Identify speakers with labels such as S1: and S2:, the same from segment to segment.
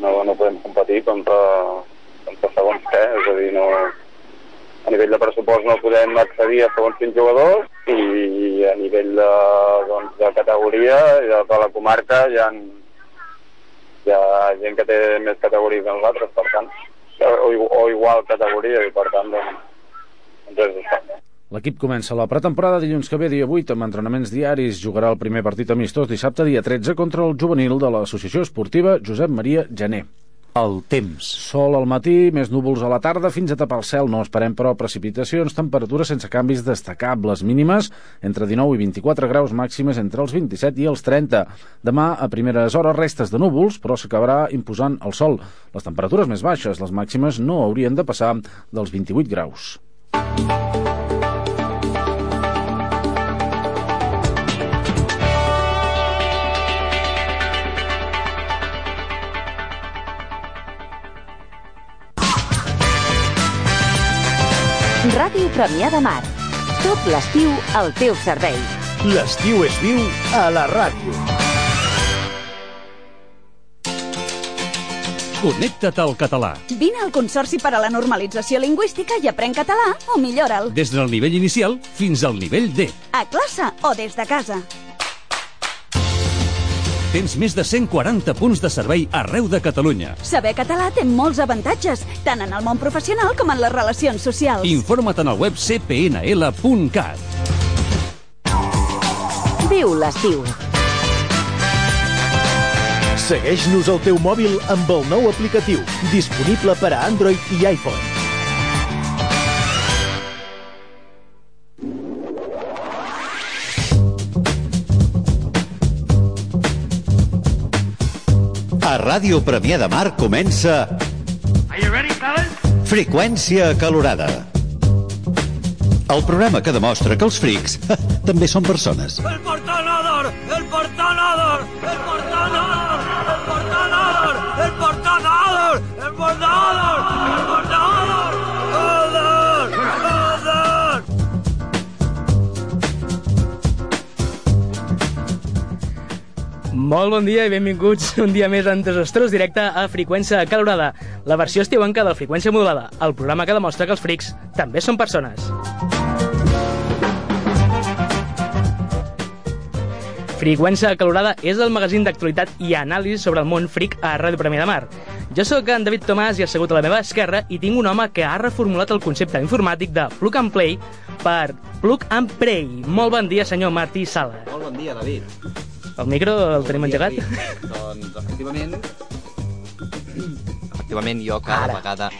S1: no podem competir contra, contra segons què, és a dir, no, a nivell de pressupost no podem accedir a segons quins jugadors i a nivell de, doncs, de categoria i de, de la comarca hi ha, hi ha gent que té més categoria que nosaltres, per tant, o, o igual categoria i per tant doncs, doncs és
S2: L'equip comença la pretemporada dilluns que ve, dia 8, amb entrenaments diaris. Jugarà el primer partit amistós dissabte, dia 13, contra el juvenil de l'Associació Esportiva Josep Maria Gené.
S3: El temps.
S2: Sol al matí, més núvols a la tarda, fins a tapar el cel. No esperem, però, precipitacions, temperatures sense canvis destacables mínimes, entre 19 i 24 graus màximes entre els 27 i els 30. Demà, a primeres hores, restes de núvols, però s'acabarà imposant el sol. Les temperatures més baixes, les màximes, no haurien de passar dels 28 graus.
S4: Ràdio Premià de Mar. Tot l'estiu al teu servei.
S5: L'estiu és viu a la ràdio.
S6: Connecta't al català.
S7: Vine al Consorci per a la Normalització Lingüística i aprèn català o millora'l.
S6: Des del nivell inicial fins al nivell D.
S7: A classe o des de casa.
S6: Tens més de 140 punts de servei arreu de Catalunya.
S7: Saber català té molts avantatges, tant en el món professional com en les relacions socials.
S6: Informa't en el web cpnl.cat.
S4: Viu l'estiu.
S5: Segueix-nos al teu mòbil amb el nou aplicatiu, disponible per a Android i iPhone.
S8: A Ràdio Premià de Mar comença... Are you ready, fellas? Freqüència calorada. El programa que demostra que els frics també són persones.
S9: El portal Odor! El portal Odor! El portal Odor! El portal Odor! El portal Odor! El portal Odor! El portal Odor! Odor!
S10: Molt bon dia i benvinguts un dia més en Desastrós directe a Freqüència Calorada, la versió estiuenca de Freqüència Modulada, el programa que demostra que els frics també són persones. Freqüència Calorada és el magazín d'actualitat i anàlisi sobre el món fric a Ràdio Premià de Mar. Jo sóc en David Tomàs i assegut a la meva esquerra i tinc un home que ha reformulat el concepte informàtic de plug and play per plug and pray. Molt bon dia, senyor Martí Sala.
S11: Molt bon dia, David.
S10: El micro el tenim engegat?
S11: Doncs, efectivament... Efectivament, jo cada Ara. vegada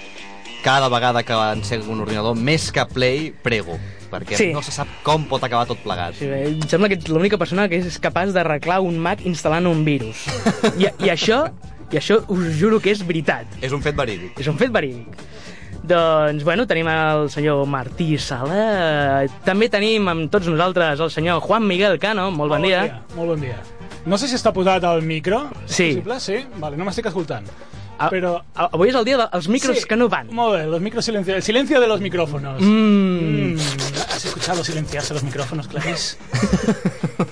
S11: cada vegada que encego un ordinador, més que Play, prego. Perquè sí. no se sap com pot acabar tot plegat.
S10: Sí, em sembla que ets l'única persona que és capaç d'arreglar un Mac instal·lant un virus. I, I això i això us juro que és veritat.
S11: És un fet verídic.
S10: És un fet verídic. Doncs, bueno, tenim el senyor Martí Sala. També tenim amb tots nosaltres el senyor Juan Miguel Cano. Molt bon,
S12: molt
S10: dia.
S12: dia. Molt bon dia. No sé si està posat al micro.
S10: Sí.
S12: Possible? Sí? Vale, no m'estic escoltant.
S10: A, però... A, avui és el dia dels de, micros
S12: sí,
S10: que no van.
S12: Molt bé, los micros silenciados. El silencio de los micrófonos.
S10: Mm. Mm.
S12: Has escuchado silenciarse los micrófonos, Clarís?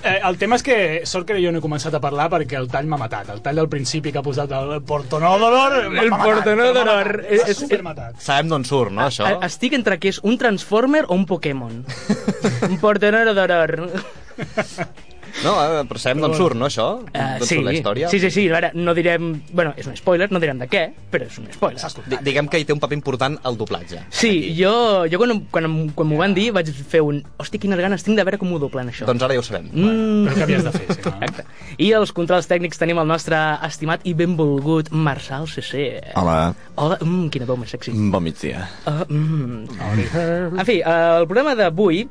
S12: eh, el tema és que sort que jo no he començat a parlar perquè el tall m'ha matat. El tall del principi que ha posat el portonodolor
S10: El portonodolor.
S12: M'ha supermatat.
S11: Sabem d'on surt, no, això?
S10: A, eh, estic entre que és un Transformer o un Pokémon. un portonodolor.
S11: No, eh, però sabem d'on surt, no, això?
S10: Uh, sí.
S11: la història?
S10: Sí, sí, sí. Ara no direm... Bueno, és un spoiler, no direm de què, però és un spoiler.
S11: D Diguem que hi té un paper important el doblatge.
S10: Sí, aquí. jo, jo quan, quan, quan m'ho van dir vaig fer un... Hosti, quines ganes tinc de veure com ho doblen, això.
S11: Doncs ara ja ho sabem.
S12: Mm. Però què havies de fer, sí, no?
S10: Exacte. I els controls tècnics tenim el nostre estimat i benvolgut Marçal CC.
S13: Hola.
S10: Hola. Mm, quina veu més sexy.
S13: Bon migdia.
S10: Uh, mm. Hola. En fi, eh, el programa d'avui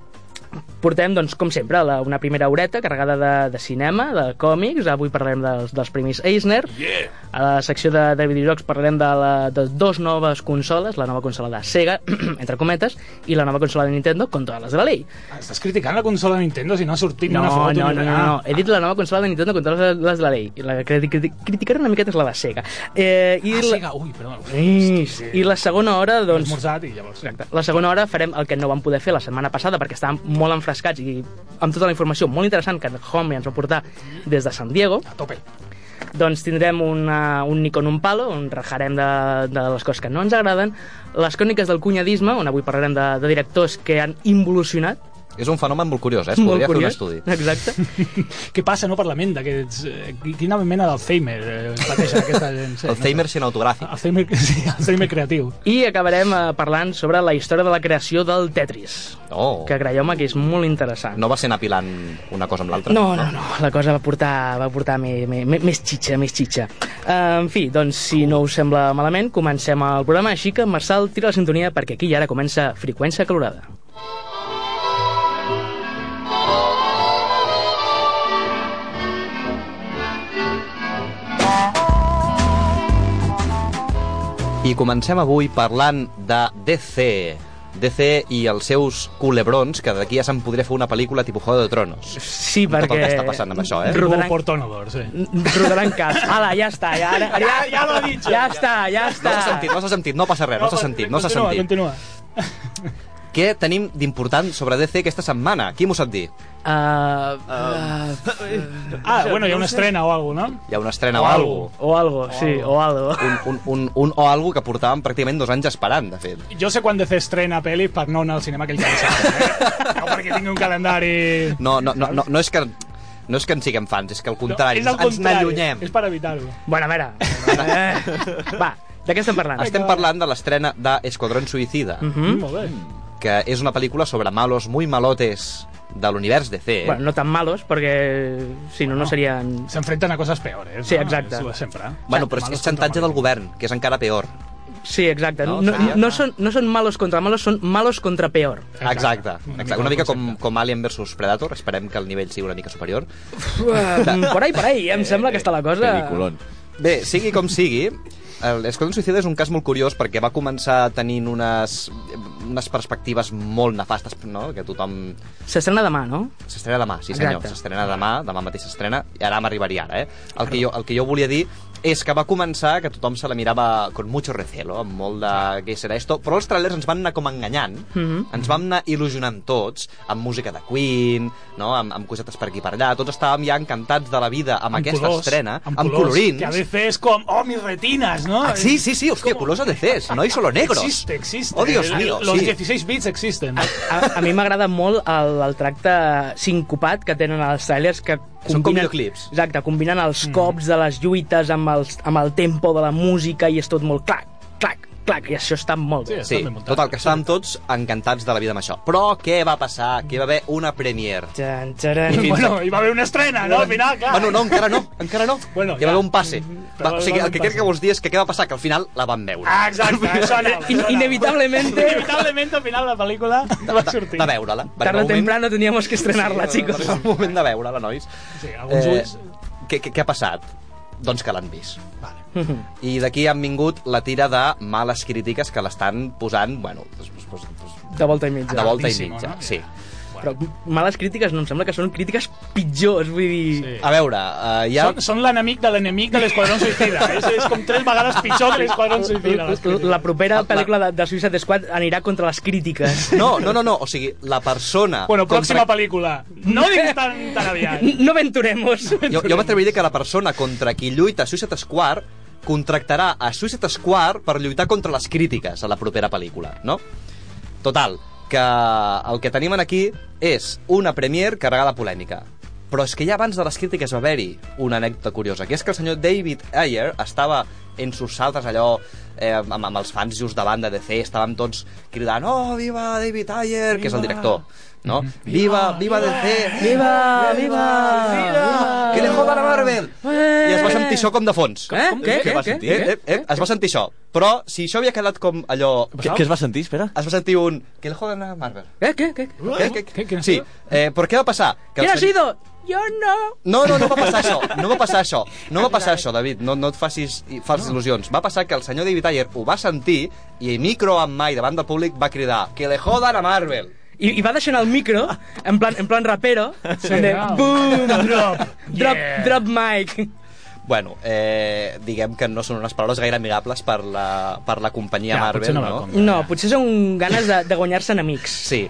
S10: portem, doncs, com sempre, la, una primera horeta carregada de, de cinema, de còmics. Avui parlarem dels, dels premis Eisner.
S12: Yeah.
S10: A la secció de, de videojocs parlarem de, la, de dos noves consoles, la nova consola de Sega, entre cometes, i la nova consola de Nintendo, con totes les de la llei.
S12: Estàs criticant la consola de Nintendo si no ha sortit
S10: no,
S12: una foto?
S10: No, no, no, no, he dit la nova consola de Nintendo con totes les de la llei. La que criticaré una miqueta és la de Sega.
S12: Eh, i ah, la... Sega, ui, perdó.
S10: Sí, Eh, sí. I la segona hora, doncs...
S12: Esmorzat i llavors... Exacte.
S10: La segona hora farem el que no vam poder fer la setmana passada perquè estàvem molt enfrescats i amb tota la informació molt interessant que en Home ens va portar des de San Diego.
S12: A tope.
S10: doncs tindrem una, un Nikon un palo, on rajarem de, de les coses que no ens agraden, les còniques del cunyadisme, on avui parlarem de, de directors que han involucionat,
S11: És un fenomen molt curiós, eh? Es podria fer un estudi.
S10: Exacte.
S12: Què passa, no, per la ment d'aquests... eh, Quina mena d'Alzheimer eh, pateixen aquesta gent? Sí,
S11: Alzheimer cinematogràfic.
S12: Alzheimer, sí, Alzheimer creatiu.
S10: I acabarem eh, parlant sobre la història de la creació del Tetris,
S11: Oh.
S10: que creieu-me que és molt interessant.
S11: No va ser anar pilant una cosa amb l'altra.
S10: No, no, no, la cosa va portar, va portar més, més, més xitxa, més xitxa. Eh, en fi, doncs, si no us sembla malament, comencem el programa, així que Marçal, tira la sintonia perquè aquí i ara comença Freqüència Calorada.
S11: I comencem avui parlant de DC. DC i els seus culebrons, que d'aquí ja se'n podria fer una pel·lícula tipus Juego de Tronos.
S10: Sí,
S11: Tot el
S10: perquè-
S11: que està passant amb això, eh?
S10: Rodaran-
S12: Portonador, sí.
S10: Rodaran cap. Ala, ja està, ja, ara, ja, ja, ja l'ho he dit. Ja està, ja
S11: No
S10: està.
S11: s'ha sentit, no s'ha sentit, no passa res, no s'ha sentit, no s'ha
S12: continua,
S11: sentit.
S12: Continua.
S11: Què tenim d'important sobre DC aquesta setmana? Qui m'ho sap dir?
S10: Uh,
S11: Ah.
S12: Ah, bueno, hi ha una estrena o alguna cosa, no?
S11: Hi ha una estrena
S12: O
S11: o,
S12: algo.
S11: algo.
S10: ah, O algo, sí, o algo.
S11: Un, un, un, un o algo que portàvem pràcticament dos anys esperant, de fet.
S12: Jo sé quan de fer estrena pel·lis per no anar al cinema aquell cap de setmana, eh? No perquè tingui un calendari...
S11: No, no, no, no, no és que no és que en siguem fans, és que al contrari,
S12: és el
S11: ens
S12: contrari,
S11: n'allunyem.
S12: és per evitar-ho.
S10: Bueno, a veure... Eh, va, de què estem parlant?
S11: Estem parlant de l'estrena d'Esquadrón Suïcida,
S10: Mhm.
S12: Mm, Molt bé.
S11: que és una pel·lícula sobre malos muy malotes de eh? l'univers DC.
S10: Bueno, no tan malos, perquè si no, no serien...
S12: S'enfrenten a coses peores.
S10: Sí,
S12: no?
S10: exacte.
S12: Això sempre.
S11: Bueno, però és que és xantatge del govern, que és encara peor.
S10: Sí, exacte. No,
S11: No,
S10: no,
S11: seria-
S10: no, són, no són malos contra malos, són malos contra peor.
S11: Exacte, exacte. una mica com, com Alien vs Predator, esperem que el nivell sigui una mica superior.
S10: Mm, Por ahí, por ahí, em sembla que està la cosa...
S11: Bé, sigui com sigui, l'Esquadron Suïcida és un cas molt curiós perquè va començar tenint unes, unes perspectives molt nefastes, no? que tothom
S10: S'estrena demà, no?
S11: S'estrena demà, sí senyor,
S10: Exacte.
S11: s'estrena demà, demà mateix s'estrena, i ara m'arribaria ara, eh? El que, jo, el que jo volia dir és que va començar que tothom se la mirava con mucho recelo, amb molt de què serà esto, però els trailers ens van anar com enganyant,
S10: Mhm.
S11: ens vam anar il·lusionant tots, amb música de Queen, no? amb, amb cosetes per aquí per allà, tots estàvem ja encantats de la vida amb, aquesta estrena,
S12: amb, colors,
S11: colorins.
S12: Que a veces és com, oh, mis retinas, no?
S11: Ah, sí, sí, sí, hòstia, colors ADCs, no hi solo negros.
S12: Existe, existe.
S11: Oh, Dios
S12: El-
S11: mío,
S12: Los
S11: sí. Ah,
S12: 16 bits existen.
S10: A, a mi m'agrada molt el, el tracte sincopat que tenen els trailers que
S11: Són com
S10: combinen...
S11: videoclips. Mm.
S10: Exacte, combinen els cops de les lluites amb, els, amb el tempo de la música i és tot molt clac, clac, clac, i això està molt bé.
S11: Sí, total, que estàvem tots encantats de la vida amb això. Però què va passar? Que hi va haver una premiere.
S10: Txan,
S11: I
S10: txaran.
S11: fins
S12: Bueno, hi va haver una estrena, no? Al final, clar.
S11: Bueno, no, encara no, encara no.
S12: Bueno,
S11: Hi va
S12: ja.
S11: haver un passe. Va,
S12: Però
S11: o sigui, el que
S12: va haver un passe.
S11: crec que vols dir és que què va passar? Que al final la van veure.
S12: Ah, exacte, això no.
S10: In, inevitablemente,
S12: Inevitablement, al final, la pel·lícula va sortir.
S11: De veure-la. Va
S10: tarde o
S11: arribar un moment-
S10: temprano teníamos que estrenarla, chicos.
S11: Va arribar un moment de veure-la, nois. Eh,
S12: Sí, alguns ulls...
S11: què, què, què ha passat? Doncs que l'han vist. I d'aquí han vingut la tira de males crítiques que l'estan posant, bueno, doncs, doncs, doncs, doncs,
S10: De volta i mitja.
S11: de volta i
S12: Altíssimo,
S11: mitja.
S12: no?
S11: Sí.
S10: Però males crítiques no, em sembla que són crítiques pitjors, vull dir...
S12: Sí.
S11: A veure, eh, hi ha...
S12: Són, són l'enemic de l'enemic de l'Esquadrón Suïcida. és, és com tres vegades pitjor que l'Esquadrón Suïcida. les crítiques.
S10: La propera
S11: La-
S10: pel·lícula de, de Suicide Squad anirà contra les crítiques.
S11: No, no, no, no, o sigui, la persona...
S12: Bueno, pròxima
S11: contra...
S12: pel·lícula. No diguis tan, tan aviat.
S10: No aventuremos.
S11: Jo, jo m'atreviria a dir que la persona contra qui lluita Suicide Squad contractarà a Suicide Squad per lluitar contra les crítiques a la propera pel·lícula, no? Total, que el que tenim aquí és una premier carregada de polèmica. Però és que ja abans de les crítiques va haver-hi una anècdota curiosa, que és que el senyor David Ayer estava en sus saltes allò eh, amb, amb els fans just davant de DC, estàvem tots cridant «Oh, viva David Ayer!», que és el director, no? «Viva, viva, DC!
S10: Viva, viva, viva.
S11: Que le joda la Marvel! I es va sentir això com de fons.
S10: Eh?
S11: Eh,
S10: Què? Què? Què?
S11: eh, eh, eh, es va sentir això. Però si això havia quedat com allò...
S3: Què, què es va sentir, espera?
S11: Es va sentir un... Que le jodan a Marvel.
S10: Eh, què? Què?
S11: Eh, que-
S12: Què- quina
S11: Sí, eh, però què va passar? Que
S10: Qui
S11: el
S10: ha
S11: senyor-
S10: sido? Jo no.
S11: No, no, no va passar això, no va passar això, no va passar això, David, no, no et facis i- falses il·lusions. Va passar que el senyor David Ayer ho va sentir i micro en mai davant del públic va cridar que le jodan a Marvel.
S10: I, I va deixant el micro, en plan, en plan rapero, sí, de
S12: no.
S10: boom, drop, drop,
S12: Yeah.
S10: drop mic.
S11: Bueno, eh, diguem que no són unes paraules gaire amigables per la, per la companyia
S12: Ja,
S11: Marvel,
S12: potser no va
S11: no?
S12: com-
S10: No, potser són ganes de, de guanyar-se enemics.
S11: Sí.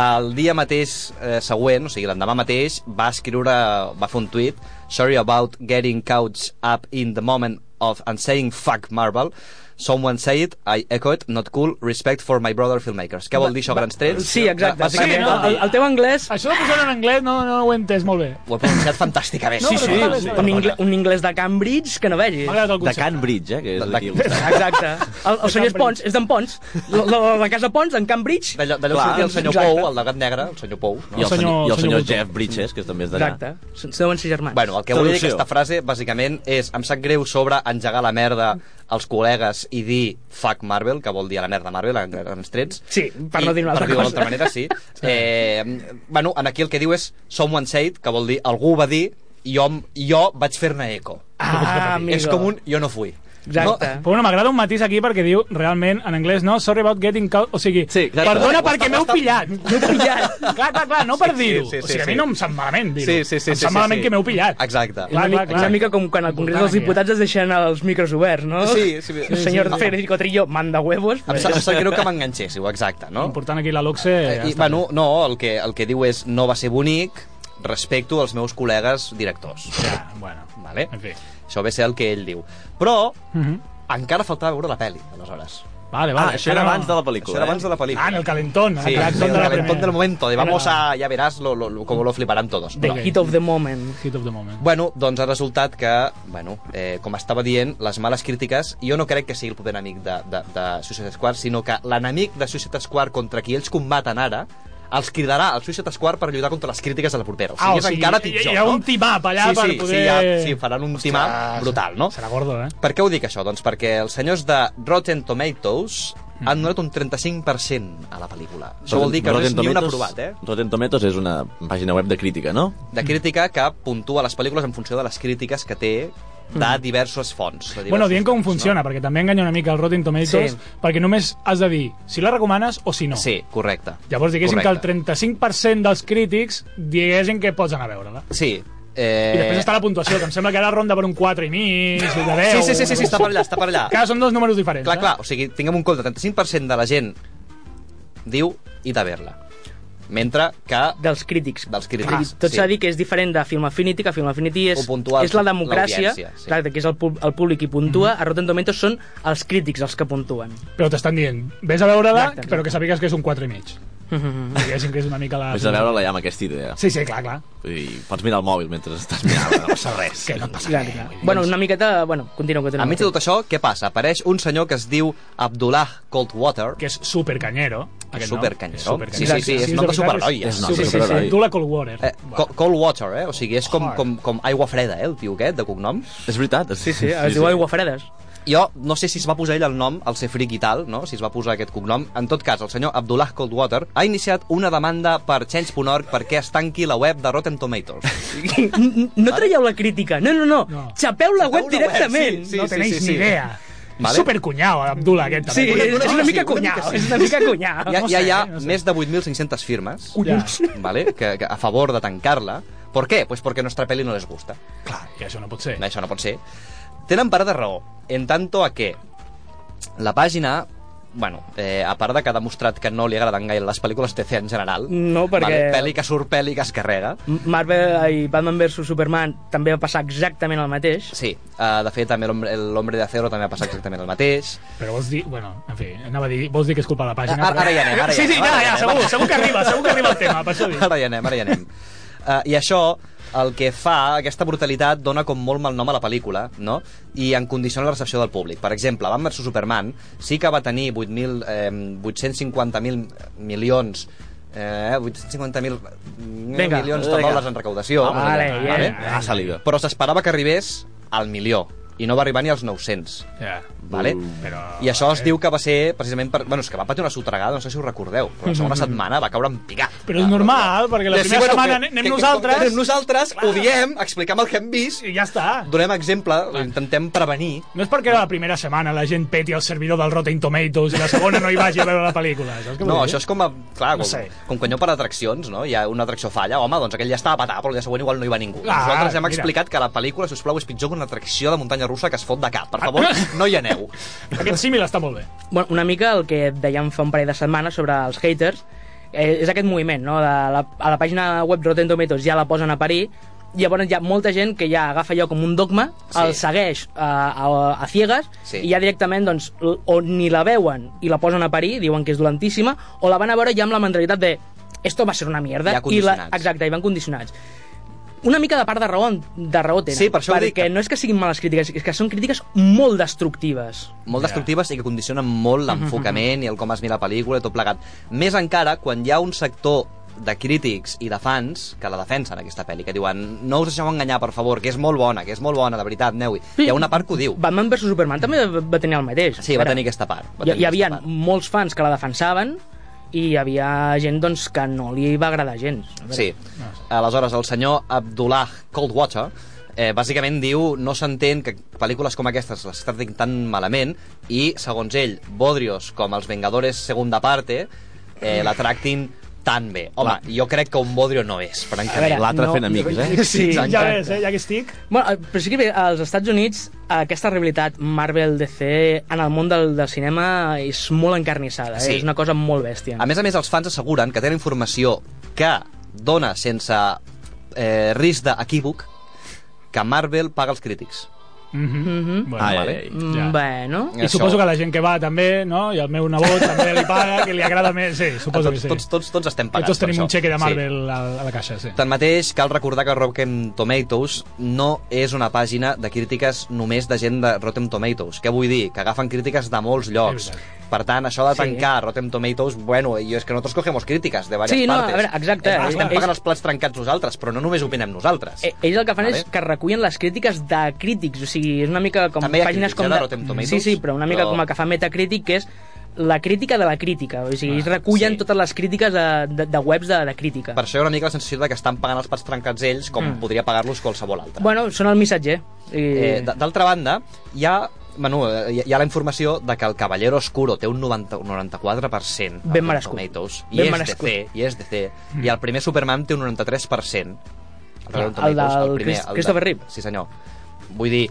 S11: el dia mateix eh, següent, o sigui, l'endemà mateix, va escriure, va fer un tuit, sorry about getting couch up in the moment of and saying fuck Marvel, someone say it, I echo it, not cool, respect for my brother filmmakers. Què vol dir això, grans trets?
S10: Sí, exacte.
S11: Bàsicament
S10: Sí,
S11: vol
S10: no, Ah,
S11: dir-
S10: el, el teu anglès...
S12: Això de posar en anglès no, no ho he entès molt bé.
S11: Ho he pronunciat fantàsticament.
S10: Sí, sí, un, ingle, un anglès de Cambridge que no vegis.
S3: De Cambridge, eh, que és d'aquí. al costat.
S10: Exacte. El, el senyor és Pons, és d'en Pons. La, la, la casa Pons, en Cambridge.
S11: D'allò d'allò
S10: Clar,
S11: sortia el senyor
S10: exacte.
S11: Pou, el de gat negre, el senyor Pou. No?
S3: I el senyor, i el senyor Jeff Bridges, que també és d'allà.
S10: Exacte. Són- Deuen ser germans.
S11: Bueno, el que vull dir
S3: Traducció.
S11: aquesta frase, bàsicament, és em sap greu sobre engegar la merda als col·legues i dir fuck Marvel, que vol dir a la merda Marvel, en grans trets.
S10: Sí, per no dir una altra
S11: per dir-ho
S10: cosa.
S11: d'altra manera, sí. eh, bueno, en aquí el que diu és someone said, que vol dir algú va dir i jo, jo vaig fer-ne eco.
S10: Ah, amigo.
S11: és com un jo no fui.
S12: Exacte. No, però bueno, m'agrada un matís aquí perquè diu, realment, en anglès no, sorry about getting caught, o sigui, sí,
S11: exacte.
S12: perdona
S11: Ho
S12: perquè
S11: està-
S12: m'heu
S11: ho està-
S12: pillat. M'heu pillat. clar, clar, clar, no per dir-ho.
S11: sí, sí,
S12: o sigui, a
S11: sí.
S12: mi no em sap malament dir-ho.
S11: Sí, sí, sí,
S12: em
S11: sí,
S12: sap
S11: sí,
S12: malament
S11: sí.
S12: que m'heu pillat.
S11: Exacte.
S10: Una, mica,
S12: clar.
S10: una mica com quan al Congrés dels Diputats es deixen els micros oberts, no?
S11: Sí, sí, sí,
S10: El
S11: sí,
S10: senyor
S11: sí.
S10: Federico Trillo manda huevos.
S11: Em sap, em sap greu que m'enganxéssiu, exacte, no?
S12: Important aquí la Loxe...
S11: Eh, I, bueno, no, el que, el que diu és no va ser bonic, respecto als meus col·legues directors. Ja,
S12: bueno.
S11: eh. Vale?
S12: En fi.
S11: Això ve a ser el que ell diu. Però
S12: Mhm.
S11: encara faltava veure la pel·li, aleshores.
S12: Vale,
S3: Ah,
S12: vale.
S3: això era
S12: encara no.
S3: abans de la pel·lícula.
S11: Això era
S3: eh?
S11: abans de la pel·lícula.
S12: Ah, en el calentón. en
S11: Sí,
S12: el
S11: sí,
S12: calentón
S11: el
S12: de la
S11: calentón
S12: primera.
S11: del momento, de vamos a, ya verás lo, lo, lo, como lo fliparán todos.
S10: The
S11: No.
S10: hit of the moment.
S12: Hit of the moment.
S11: Bueno, doncs ha resultat que, bueno, eh, com estava dient, les males crítiques, jo no crec que sigui el proper enemic de, de, de Suicide Squad, sinó que l'enemic de Suicide Squad contra qui ells combaten ara els cridarà al Suicide Squad per lluitar contra les crítiques de la propera. O sigui,
S12: Ah, o
S11: és
S12: sigui,
S11: encara
S12: hi-
S11: pitjor,
S12: hi ha
S11: no?
S12: un team-up allà
S11: sí,
S12: per
S11: sí,
S12: poder-
S11: Sí, ha, sí, faran un team-up brutal, no?
S12: Serà gordo, eh?
S11: Per què ho dic, això? Doncs perquè els senyors de Rotten Tomatoes
S12: Mm.
S11: han donat un 35% a la pel·lícula. Això vol dir que no és
S3: Rotten
S11: ni un
S3: Tomatoes-
S11: aprovat, eh?
S3: Rotten Tomatoes és una pàgina web de crítica, no?
S11: de crítica que puntua les pel·lícules en funció de les crítiques que té de
S12: Mm.
S11: diverses fonts. De diversos...
S12: Bueno, dient com funciona, no? perquè també enganya una mica el Rotten Tomatoes,
S11: Sí.
S12: sí. perquè només has de dir si la recomanes o si no.
S11: Sí, correcte.
S12: Llavors diguéssim
S11: correcte.
S12: que el 35% dels crítics diguessin que pots anar a veure-la.
S11: Sí. Eh...
S12: I després està la puntuació, que em sembla que ara ronda per un 4 i mig, de 10...
S11: Sí, sí, sí, sí, sí, està per allà, està per allà.
S12: Clar, són dos números diferents.
S11: Clar,
S12: eh?
S11: clar, o sigui, tinguem un compte, 35% de la gent diu i de veure-la. Mentre que...
S10: Dels crítics.
S11: Dels
S10: Ah,
S11: crítics,
S10: tot s'ha de dir que és diferent de Film Affinity, que Film Affinity és,
S11: Ho puntua
S10: és la democràcia,
S11: l'audiència, sí. Mm-hmm.
S10: exacte, que és el, pub- el públic qui puntua, a Rotten Tomatoes són els crítics els que puntuen.
S12: Però t'estan dient, vés a veure-la,
S10: Exacte.
S12: però que sàpigues que és un 4 i mig. Diguéssim que és una mica la...
S3: Vés a veure-la ja amb aquesta idea.
S12: Ah, Sí, sí, clar, clar.
S3: I pots mirar el mòbil mentre estàs mirant, no passa res.
S12: Que no passa
S10: Exacte. Bueno, una miqueta... Bueno, continua, continua.
S11: Enmig de tot això, què passa? Apareix un senyor que es diu Abdullah Coldwater.
S12: Que és supercanyero.
S11: Que és
S12: Aquest nom.
S11: supercanyero.
S12: És supercanyero.
S11: Sí, sí, sí,
S12: Sí,
S11: és
S12: sí,
S11: nom
S12: de
S11: de
S12: veritat,
S11: superheroi.
S12: és- és nom de Sí, sí, sí, superheroi. Abdullah Coldwater.
S11: Eh, co cold water, eh? O sigui, és com, com, com aigua freda, eh, el tio aquest, de cognom.
S3: És veritat.
S11: Sí,
S10: Sí, es diu Aigua Fredes.
S11: Jo no sé si es va posar ell el nom, al ser fric i tal, no? si es va posar aquest cognom. En tot cas, el senyor Abdullah Coldwater ha iniciat una demanda per Change.org perquè es tanqui la web de Rotten Tomatoes.
S10: No traieu la crítica, no, no, no. no. Xapeu la web directament.
S12: no tenéis ni idea.
S11: Vale.
S12: Vale. Supercunyao, Abdullah, aquest.
S10: Sí,
S12: també.
S10: és una mica cunyao, és una mica cunyao.
S11: Ja,
S12: No
S11: ja
S12: sé, eh,
S11: hi ha
S12: no sé.
S11: més de 8.500 firmes
S12: Collons.
S11: vale, que, que a favor de tancar-la. ¿Por qué? Pues porque nuestra peli no les gusta.
S12: I això no pot ser.
S11: Això no pot ser. Tenen part de raó, en tanto a que la pàgina bueno, eh, a part de que ha demostrat que no li agraden gaire les pel·lícules TC en general
S10: No, perquè-
S11: vale, pel·li que surt, pel·li que es carrega
S10: Marvel i Batman vs Superman també va passar exactament el mateix.
S11: Sí, uh, de fet, també l'Hombre- l'Hombre de Acero també ha passat exactament el mateix.
S12: Però vols dir... Bueno, en fi, anava a dir... Vols dir que és culpa de la pàgina?
S11: Ah, Ara, ara hi anem, ara hi
S12: Sí,
S11: anem.
S12: sí, ja,
S11: ara hi
S12: ja,
S11: anem.
S12: segur, segur que arriba, segur que arriba el tema, per això dic.
S11: Ara hi anem, ara hi anem. Uh, I això, el que fa, aquesta brutalitat dona com molt mal nom a la pel·lícula, no? I en condiciona la recepció del públic. Per exemple, Batman vs Superman sí que va tenir 8.000, eh, 850.000 milions Eh, 850.000
S10: Vinga,
S11: milions de
S10: vinga.
S11: dòlars en recaudació.
S10: Vamos allá. Vale,
S11: vale?
S10: bien.
S3: Ha salido.
S11: Però s'esperava que arribés al milió i no va arribar ni als 900.
S12: Ja.
S11: Vale?
S12: Però...
S11: Mm. I això es diu que va ser precisament per... Bueno, és que va patir una sotregada, no sé si ho recordeu, però la segona setmana va caure en picat.
S12: Mm. Però és normal, perquè la
S11: Sí,
S12: primera
S11: bueno,
S12: setmana
S11: que-
S12: anem
S11: que- que-
S12: nosaltres...
S11: anem nosaltres, ho diem, expliquem el que hem vist...
S12: I ja està.
S11: Donem exemple, ho intentem prevenir.
S12: No és perquè la primera setmana la gent peti el servidor del Rotten Tomatoes i la segona no hi vagi a veure la pel·lícula. Saps què vull
S11: No,
S12: dir?
S11: això és com, a, clar,
S12: No
S11: com,
S12: sé.
S11: com quan jo per atraccions, no? Hi ha una atracció falla, home, doncs aquell ja estava a petar, però el dia següent igual no hi va ningú.
S12: Ah,
S11: Nosaltres hem
S12: mira.
S11: explicat que la pel·lícula, si us plau, és pitjor que una atracció de muntanya russa que es fot de cap. Per favor, no hi aneu.
S12: Aquest símil està molt bé.
S10: Bueno, una mica el que dèiem fa un parell de setmanes sobre els haters, eh, és aquest moviment, no? De la, a la pàgina web Rotten Tomatoes ja la posen a parir, i llavors hi ha molta gent que ja agafa allò com un dogma, sí. el segueix a, a, a ciegues, sí. i ja directament doncs, l- o ni la veuen i la posen a parir, diuen que és dolentíssima, o la van a veure ja amb la mentalitat de esto va ser una mierda,
S11: Ja
S10: i la,
S11: condicionats.
S10: exacte, i van condicionats. Una mica de part de raó, de raó tenen,
S11: Sí, per això ho dic.
S10: perquè no és que siguin males crítiques, és que són crítiques molt destructives.
S11: molt destructives i que condicionen molt
S10: Mhm,
S11: l'enfocament i el com es mira la pel·lícula i tot plegat. Més encara, quan hi ha un sector de crítics i de fans que la defensen, aquesta pel·li, que diuen no us deixeu enganyar, per favor, que és molt bona, que és molt bona, de veritat, aneu-hi. Hi ha una part que ho diu.
S10: Batman vs Superman també va va tenir el mateix.
S11: Sí, va
S10: Era-
S11: tenir aquesta part. Va
S10: Hi,
S11: tenir
S10: hi havia
S11: aquesta part.
S10: molts fans que la defensaven i hi havia gent doncs, que no li va agradar gens. A veure,
S11: Sí. Aleshores, el senyor Abdullah Coldwater eh, bàsicament diu no s'entén que pel·lícules com aquestes les tractin tan malament i, segons ell, Bodrios com els Vengadores segunda parte eh, la tractin tan bé. Home,
S3: Va.
S11: jo crec que un Bodrio no és, francament. eh?
S10: Sí,
S11: exacte.
S12: ja ves, eh? ja que estic.
S10: Bueno, eh, però sí que bé, als Estats Units aquesta rivalitat Marvel-DC en el món del, del cinema és molt encarnissada, eh?
S11: Sí.
S10: és una cosa molt bèstia.
S11: A més a més, els fans asseguren que tenen informació que dona sense eh, risc d'equívoc que Marvel paga els crítics.
S12: Mhm. Bueno,
S11: Ai,
S12: vale.
S11: ai, ai.
S12: Mm,
S11: Ah, Ja.
S10: Bueno.
S12: I suposo que la gent que va també, no? I el meu nebot també li paga, que li agrada més. Sí, suposo
S11: tots,
S12: que sí.
S11: tots, tots, tots estem
S12: Que
S11: pagats
S12: tots
S11: per
S12: tenim
S11: això.
S12: un xeque de
S11: Sí.
S12: Marvel sí. a, a la caixa, sí.
S11: Tanmateix, cal recordar que Rotten Tomatoes no és una pàgina de crítiques només de gent de Rotten Tomatoes. Què vull dir? Que agafen crítiques de molts llocs. Per tant, això de
S10: Sí.
S11: tancar Rotten Tomatoes, bueno, i és que nosaltres cogemos crítiques de diverses
S10: Sí, no, a
S11: partes.
S10: veure, exacte.
S11: Eh, Estem
S10: Ells-
S11: pagant els plats trencats nosaltres, però no només opinem nosaltres.
S10: Eh, Ells el que fan
S11: Vale.
S10: vale. és que recullen les crítiques de crítics, o sigui, és una mica com
S11: També hi ha
S10: pàgines
S11: crítics,
S10: com...
S11: eh, de Rotten Tomatoes,
S10: sí, sí, però una mica
S11: però-
S10: però... com el que fa Metacritic, que és la crítica de la crítica, o sigui, ells recullen sí. totes les crítiques de, de, de webs de, de crítica.
S11: Ah, Per això hi ha una mica la sensació de que estan pagant els plats trencats ells com
S10: Mm.
S11: podria pagar-los qualsevol altre.
S10: Bueno, són el missatger. I...
S11: Eh, d- D'altra banda, hi ha, bueno, eh, hi ha- hi ha la informació de que el Caballero Oscuro té un 90, un 94% a
S10: Ben
S11: Rotten
S10: merescut.
S11: Tomatoes, i
S10: Ben
S11: és
S10: merescut. Mm.
S11: DC, i és DC, i el primer Superman té un 93%. a Rotten
S10: El
S11: Tomatoes,
S10: del Chris- Christopher Reeve.
S11: Sí, senyor. Vull dir,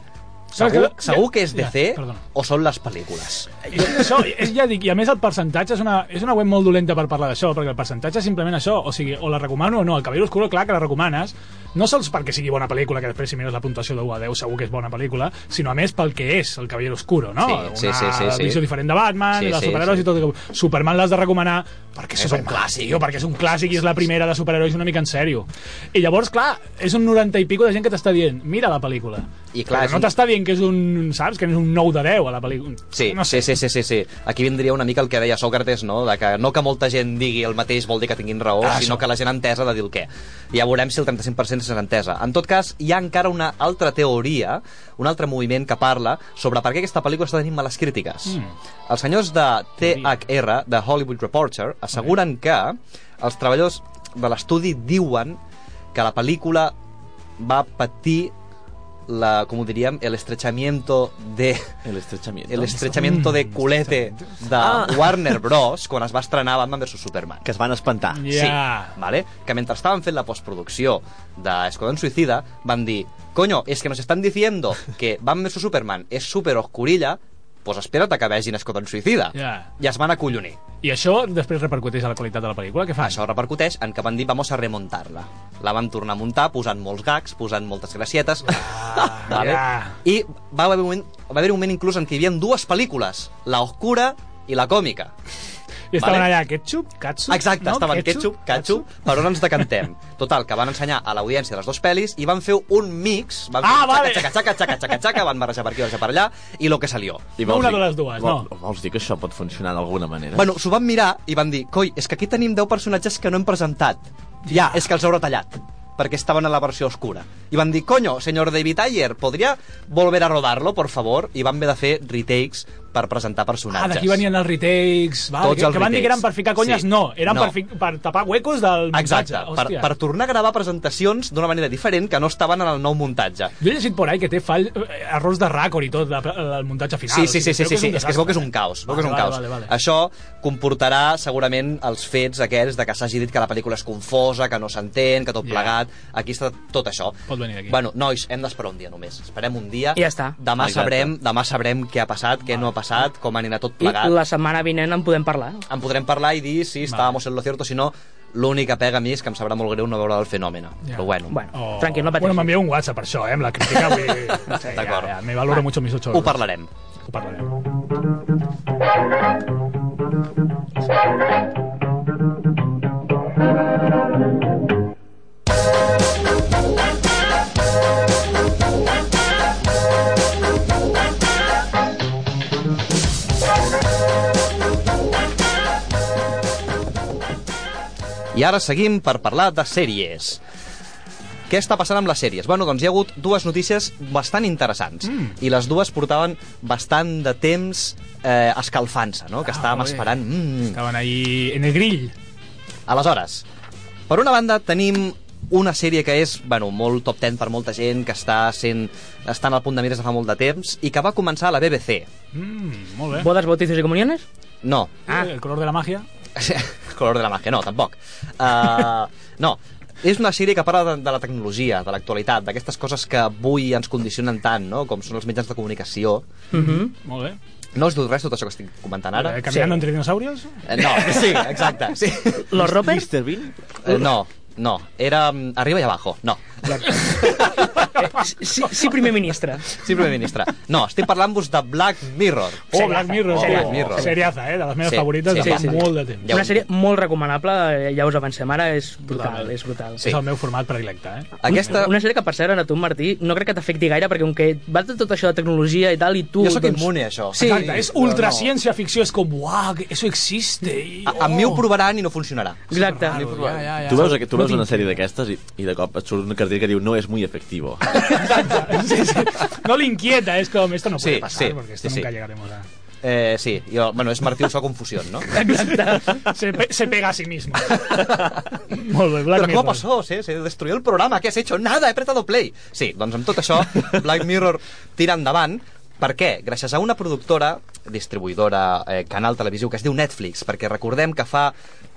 S11: segur,
S12: que-
S11: segur que és
S12: ja,
S11: DC
S12: perdona.
S11: o són les pel·lícules.
S12: I això, és, ja dic, i a més el percentatge és una, és una web molt dolenta per parlar d'això, perquè el percentatge és simplement això, o sigui, o la recomano o no, el Cabello Oscuro, clar que la recomanes, no sols perquè sigui bona pel·lícula, que després si mires la puntuació de 1 a 10 segur que és bona pel·lícula, sinó a més pel que és el Cabello Oscuro, no?
S11: Sí, sí,
S12: una
S11: sí, sí, sí.
S12: visió diferent de Batman,
S11: Sí,
S12: sí, de
S11: sí,
S12: superherois
S11: sí.
S12: sí, i tot. Superman l'has de recomanar perquè
S11: És
S12: és,
S11: un
S12: un
S11: clàssic.
S12: clàssic, tio, perquè és un clàssic i és la primera de superherois una mica en sèrio. I llavors, clar, és un 90 i pico de gent que t'està dient, mira la pel·lícula.
S11: I clar, és
S12: Però
S11: un-
S12: no t'està dient que és un, saps, que és un 9 de 10 a la pel·lícula.
S11: Sí, no sé. sí, sí, sí, sí, sí. Aquí vindria una mica el que deia Sòcrates, no? De que no que molta gent digui el mateix vol dir que tinguin raó, ah,
S12: Ah,
S11: sinó
S12: això.
S11: que la gent entesa de dir el què. Ja veurem si el 35% és entesa. En tot cas, hi ha encara una altra teoria, un altre moviment que parla sobre per què aquesta pel·lícula està tenint males crítiques. Mm. Els senyors de THR, de Hollywood Reporter, asseguren que els treballadors de l'estudi diuen que la pel·lícula va patir la, com ho diríem, el estrechamiento de...
S3: El estrechamiento.
S11: El estrechamiento de culete de
S3: Ah.
S11: Warner Bros. quan es va estrenar Batman vs Superman.
S3: Que es van espantar.
S11: Yeah. Sí, vale? Que mentre estaven fent la postproducció d'Esquadrón Suicida van dir, coño, es que nos están diciendo que Batman vs Superman és super oscurilla, pues espera't a que vegin Esquadrón Suicida.
S12: Ja.
S11: I es van acollonir.
S12: I això després repercuteix a la qualitat de la pel·lícula, què fa?
S11: Això repercuteix en que van dir vamos a remuntar-la. La van tornar a muntar posant molts gags, posant moltes gracietes. vale?
S12: Ah, ja.
S11: I va haver, un moment, va haver un moment inclús en què hi havia dues pel·lícules, la oscura i la còmica.
S12: I estaven
S11: Vale.
S12: allà, ketchup, katsu...
S11: Exacte, no, estaven ketchup, ketchup, per on ens decantem. Total, que van ensenyar a l'audiència les dues pel·lis i van fer un mix, van fer
S12: Ah, vale.
S11: xaca, xaca, xaca, xaca, xaca, van barrejar per aquí, barrejar per allà, i lo que salió.
S3: I
S12: No
S3: vols
S12: una
S3: dir-
S12: de les dues,
S3: vol-
S12: no.
S3: Vols dir que això pot funcionar d'alguna manera?
S11: Bueno, s'ho van mirar i van dir, coi, és que aquí tenim 10 personatges que no hem presentat. Ja, és que els heu retallat perquè estaven a la versió oscura. I van dir, coño, senyor David Ayer, podria volver a rodarlo, por favor? I van haver de fer retakes per presentar
S12: Ah,
S11: personatges.
S12: d'aquí venien els retakes, vale,
S11: Tots
S12: que,
S11: els
S12: que van dir que
S11: retakes.
S12: eren per ficar conyes,
S11: Sí.
S12: no, eren
S11: No.
S12: Per, fi, per tapar huecos del muntatge.
S11: Exacte, per,
S12: hòstia.
S11: per tornar a gravar presentacions d'una manera diferent que no estaven en el nou muntatge.
S12: Jo he llegit por ahí que té fall, eh, errors de ràcord i tot, de, del muntatge final.
S11: Sí, sí,
S12: O
S11: sí, sí, sí,
S12: sigui, veu un
S11: sí. és que es veu que és un caos.
S12: desastre.
S11: Veu que és un
S12: Vale,
S11: caos.
S12: vale, vale, vale.
S11: Això comportarà segurament els fets aquests de que s'hagi dit que la pel·lícula és confosa, que no s'entén, que tot
S12: Ja.
S11: plegat. Aquí està tot això.
S12: Pot venir d'aquí.
S11: Bueno, nois, hem d'esperar un dia només. Esperem un dia.
S10: I ja està.
S11: Demà
S3: Exacte.
S11: sabrem, demà sabrem què ha passat, què no ha passat, com anirà tot
S10: I
S11: plegat.
S10: la setmana vinent en podem parlar.
S11: En podrem parlar i dir si estàvamos en lo cierto, si no, l'única pega a mi és que em sabrà molt greu no veure el fenomen.
S12: Ja.
S11: Però bueno.
S10: bueno
S12: O-
S10: Tranquil, no
S12: Bueno, m'envia un WhatsApp per això, eh, amb la crítica. Vull dir, sí,
S11: D'acord.
S12: Ja, ja, me valoro mucho mis ocho
S11: Ho parlarem.
S12: Ho parlarem.
S11: I ara seguim per parlar de sèries. Què està passant amb les sèries? Bueno, doncs hi ha hagut dues notícies bastant interessants
S13: Mm.
S11: i les dues portaven bastant de temps eh, escalfant-se, no? que estàvem
S12: Ah, molt bé.
S11: esperant. Mm.
S12: Estaven ahí en el grill.
S11: Aleshores, per una banda tenim una sèrie que és bueno, molt top 10 per molta gent, que està sent, estant al punt de mires de fa molt de temps i que va començar a la BBC.
S12: Mm, molt
S11: Eh?
S12: bé.
S10: Bodes, bautizos i comuniones?
S11: No,
S12: Ah. El color de la màgia.
S11: Color de la màgia, no, tampoc. Uh, no, és una sèrie que parla de, de la tecnologia, de l'actualitat, d'aquestes coses que avui ens condicionen tant, no? com són els mitjans de comunicació.
S12: Mhm. Molt bé.
S11: No us diu res tot això que estic comentant ara?
S12: Eh, Caminando entre dinosaurios?
S11: Eh, No, sí, exacte. Sí.
S10: Los Roper?
S11: Mr. Bean? Eh, no, no. Era mm, Arriba i Abajo, no. Ah.
S10: Sí, sí, primer ministre.
S11: Sí, primer ministre. No, estic parlant-vos de Black Mirror.
S12: Oh, Black Mirror.
S11: Oh, Black
S12: oh,
S11: Mirror.
S12: Seriaza, eh? De les meves favorites de fa molt de temps.
S10: Una sèrie molt recomanable, eh, ja us avancem ara, és brutal, és brutal.
S12: És el meu format predilecte, eh?
S10: Aquesta... Una sèrie que, per cert, a tu, Martí, no crec que t'afecti gaire, perquè com que va de tot això de tecnologia i tal, i tu...
S11: Jo sóc
S10: doncs...
S11: immune a això.
S10: Sí,
S12: Exacte, és ultraciència ficció, és com, uah, que eso existe. oh. I,
S11: A, amb mi ho provaran i no funcionarà.
S10: Exacte.
S12: Ja, ja, Ah, ja.
S3: Tu veus, tu
S12: No
S3: veus una
S12: tinc-
S3: sèrie d'aquestes i, i de cop et surt un cartell que diu no és muy efectivo.
S12: No l'inquieta, és com, esto no puede
S11: Sí,
S12: pasar,
S11: sí,
S12: porque esto
S11: sí, sí.
S12: nunca llegaremos a...
S11: Eh, sí, jo, bueno, és Martí Ursó Confusión, no?
S12: se, pe- se pega a sí mismo. Molt bé, Black
S11: Pero ¿cómo
S12: Mirror.
S11: pasó? Se, se destruyó el programa, ¿qué has hecho? Nada, he apretado play. Sí, doncs amb tot això, Black Mirror tira endavant. Per què? Gràcies a una productora, distribuïdora, eh, canal televisiu que es diu Netflix, perquè recordem que fa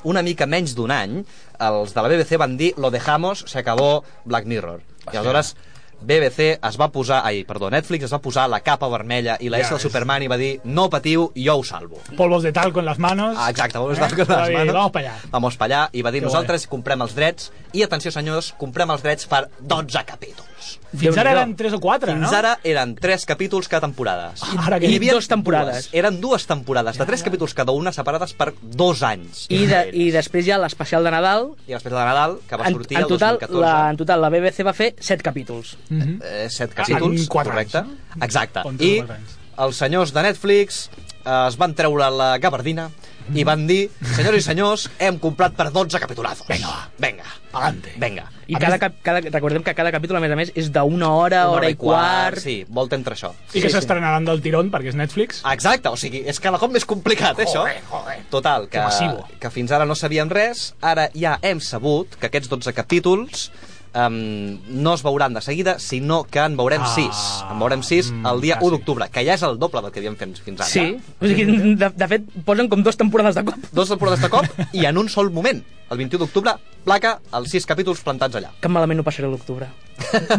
S11: una mica menys d'un any els de la BBC van dir lo dejamos, se acabó Black Mirror. I aleshores BBC es va posar, ai, perdó, Netflix es va posar la capa vermella i la
S12: Ja
S11: S del
S12: ves.
S11: Superman i va dir no patiu, jo ho salvo.
S12: Polvos de talco en las manos.
S11: Ah, exacte, vamos, eh?
S12: Va dir,
S11: manos.
S12: Vamos para allà.
S11: Vamos para allà i va dir
S12: Que
S11: nosaltres comprem els drets i atenció senyors, comprem els drets per 12 capítols.
S12: Fins ara eren 3 o 4,
S11: Fins
S12: no?
S11: ara eren 3 capítols cada temporada.
S10: Ah,
S12: Ara que-
S11: hi havia
S12: I dues
S10: temporades.
S11: Dues. Eren dues temporades, de 3 capítols cada una separades per 2 anys.
S10: I, de, I després hi ha l'especial de Nadal,
S11: I després de Nadal, que va
S10: en,
S11: sortir
S10: en,
S11: el
S10: total,
S11: 2014.
S10: la, en total la BBC va fer set capítols.
S11: eh, set
S10: Ah,
S11: capítols,
S10: en quatre
S11: correcte.
S10: anys,
S11: Exacte.
S10: Onze o
S11: I
S10: quatre
S11: els senyors de Netflix eh, es van treure la gabardina
S10: Mm-hmm.
S11: i van dir, senyors i senyors, hem comprat per 12 capitulazos. Venga, venga,
S12: adelante.
S11: Venga.
S10: I cada, cap, cada, recordem que cada capítol, a més a més, és d'una hora, hora i quart...
S11: Sí, volta entre això.
S12: I que s'estrenaran del tirón, perquè és Netflix.
S11: Exacte, o sigui, és cada cop més complicat, eh, Ah, això. Total, que,
S12: Que massivo.
S11: que fins ara no sabíem res, ara ja hem sabut que aquests 12 capítols um, no es veuran de seguida, sinó que en veurem
S10: Ah, mm,
S11: 6. En veurem 6 el dia 1 d'octubre, que ja és el doble del que havíem fet fins ara.
S10: Sí, o sigui, de, de fet, posen com dues temporades de cop.
S11: Dos temporades de cop i en un sol moment. El 21 d'octubre, placa, els 6 capítols plantats allà.
S10: Que malament ho passaré a l'octubre.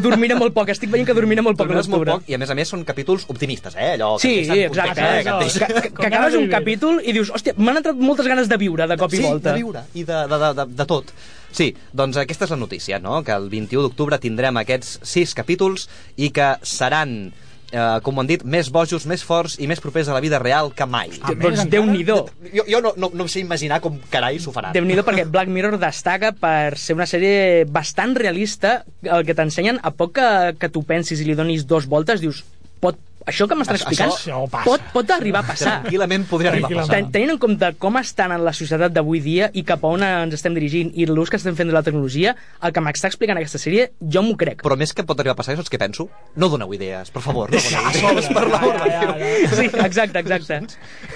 S10: Dormiré molt poc, estic veient que dormiré molt poc a
S11: Però no és molt
S10: l'octubre.
S11: poc, i a més a més són capítols optimistes, eh? Allò que
S10: Sí,
S11: et deixen
S10: exacte.
S11: contents, eh, et
S10: eh? Que,
S11: deixen-
S10: que, que acabes un capítol i dius, hòstia, m'han entrat moltes ganes de viure de cop
S11: sí,
S10: i volta.
S11: de viure i de, de, de, de, de tot. Sí, doncs aquesta és la notícia, no? Que el 21 d'octubre tindrem aquests sis capítols i que seran, eh, com ho han dit, més bojos, més forts i més propers a la vida real que mai.
S10: Ah, doncs Déu-n'hi-do.
S11: Jo, jo no, no, no em sé imaginar com carai s'ho faran.
S10: déu nhi perquè Black Mirror destaca per ser una sèrie bastant realista, el que t'ensenyen a poc que, que tu pensis i li donis dos voltes, dius, pot, això que m'estan
S11: Això-
S10: explicant
S11: això passa.
S10: pot, pot arribar a passar.
S11: Tranquil·lament podria arribar a passar.
S10: Ten- Tenint en compte com estan en la societat d'avui dia i cap a on ens estem dirigint i l'ús que estem fent de la tecnologia, el que m'està explicant aquesta sèrie, jo m'ho crec.
S11: Però més que pot arribar a passar, saps què penso? No doneu idees, per favor. No doneu idees.
S10: Sí, exacte, exacte.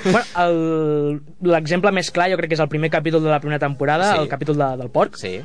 S10: Bueno, el- L'exemple més clar jo crec que és el primer capítol de la primera temporada,
S11: Sí.
S10: el Eh, capítol de, del porc.
S11: Sí.